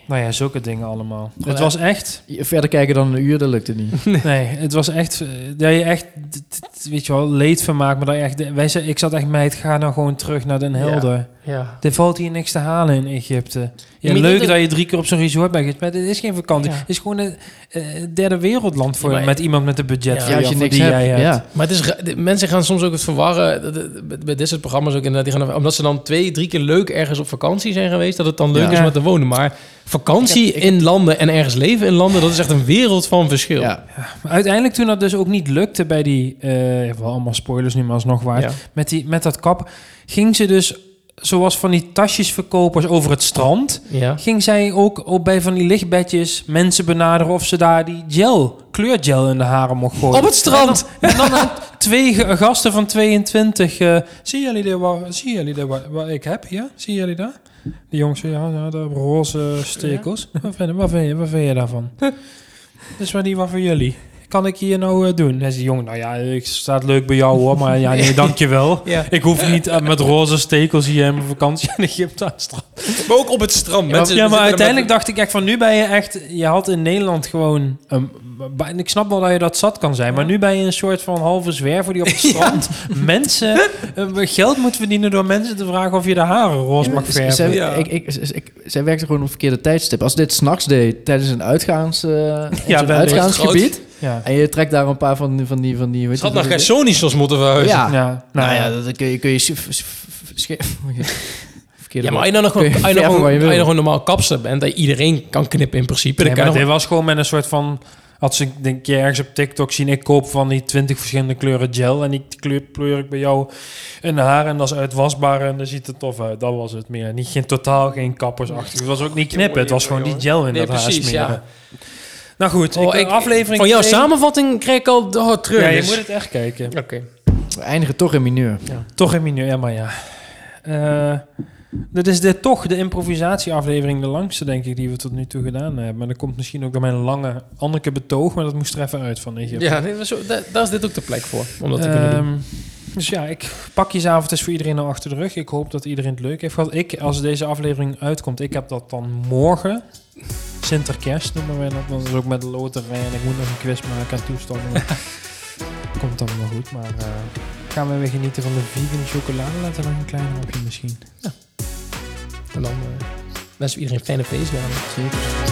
Nou ja, zulke dingen allemaal. Het was echt... Je- Verder kijken dan een uur, dat lukt het niet. Nee, het was echt eh, dat je echt d- d- weet je wel leed van maakt, maar dat je echt de- wij zei, ik zat echt meid ga nou gewoon terug naar Den Helder. ja. Er valt hier niks te halen in Egypte. Ja, maar je leuk kunt dat je drie keer op zo'n resort bent, geweest, maar dit is geen vakantie. Ja. Het is gewoon een eh, derde wereldland voor Ja, maar- met iemand met een budget Ja, voor Ja, als jou, je voor niks die hebt. jij hebt. Ja. Maar het is, ra- de- mensen gaan soms ook het verwarren. dat- dat- bij- Bij dit soort programma's ook inderdaad. Die gaan, er- omdat ze dan twee, drie keer leuk ergens op vakantie zijn geweest. Dat het dan leuk Ja. is om te wonen. Maar vakantie in landen en ergens leven in landen. Dat is echt een wereld van verschil. Ja. Maar uiteindelijk toen dat dus ook niet lukte bij die, eh wel allemaal spoilers nu maar alsnog waard, Ja. met, die, met dat kap, ging ze dus zoals van die tasjesverkopers over het strand. ja. ging zij ook op bij van die lichtbedjes mensen benaderen of ze daar die gel, kleurgel in de haren mocht gooien. Op het strand! En dan had twee ge- gasten van 22. eh zie jullie dit wat, zie jullie dit wat, wat ik heb hier? Zie jullie dat? Die jongens, ja, ja de roze stekels. Wat, vind, je- wat, vind je, wat vind je daarvan? dus maar die wat voor jullie. Kan ik hier nou eh, doen? Hij zei, jongen, nou ja, ik staat leuk bij jou hoor, maar ja, nee, dankjewel. Ja. Ik hoef niet eh, met roze stekels hier in mijn vakantie in Egypte aan het strand Maar ook op het strand. ja, maar, uiteindelijk dacht ik echt van nu ben je echt. Je had in Nederland gewoon. een- ba- en ik snap wel dat je dat zat kan zijn, maar nu ben je een soort van halve zwerver die op het strand mensen eh, geld moet verdienen door mensen te vragen of je de haren roze mag Z- Zij, verven. Ja. ik, ik, z- ik- zij werkte gewoon op een verkeerde tijdstip. Als dit s'nachts deed, tijdens een, uitgaans, eh, wel, zo'n dat is uitgaansgebied... Ja. en je trekt daar een paar van die... Van die, van die weet Ze had je- naar Gersonisos moeten verhuizen. Ja. ja, Nou ja, ja. dat kun je... Kun je suf- suf- sche- verkeerde Ja, maar woord. als je nou nog gewoon- Kun je als je nou verven gewoon- waar als je je wil. nou gewoon normaal kapster bent, dat iedereen kan knippen in principe. Dan Nee, kan maar je dit nog- was gewoon met een soort van. Had ze denk je ergens op TikTok zien, ik koop van die 20 verschillende kleuren gel en die kleur pleur ik bij jou in de haar en dat is uitwasbaar en dan ziet het tof uit. Dat was het meer. Niet geen totaal geen kappersachtig. Het was ook niet knippen, het was gewoon die gel in Nee, dat haar precies, smeren. ja. Nou goed, Oh, ik, ik- aflevering Van jouw twee- samenvatting kreeg ik al de oh, treur. Ja, je dus- moet het echt kijken. Oké. We eindigen toch in mineur. Toch in mineur, ja maar ja. Eh, dat is dit toch de improvisatieaflevering, de langste denk ik, die we tot nu toe gedaan hebben. Maar dat komt misschien ook door mijn lange Anneke betoog, maar dat moest er even uit van Egypte. Ja, nee, maar zo, da- daar is dit ook de plek voor. Om dat te kunnen doen. Ehm, Dus ja, ik, pakjesavond is voor iedereen al achter de rug. Ik hoop dat iedereen het leuk heeft gehad. Ik, als deze aflevering uitkomt, ik heb dat dan morgen. Sinterkerst noemen wij dat. Dat is ook met loterij en ik moet nog een quiz maken en toestanden. Komt dan wel goed, maar eh, gaan we weer genieten van de vegan chocolade. Laten we nog een klein hapje misschien. En dan eh wensen we iedereen fijne feestdagen. Zeker.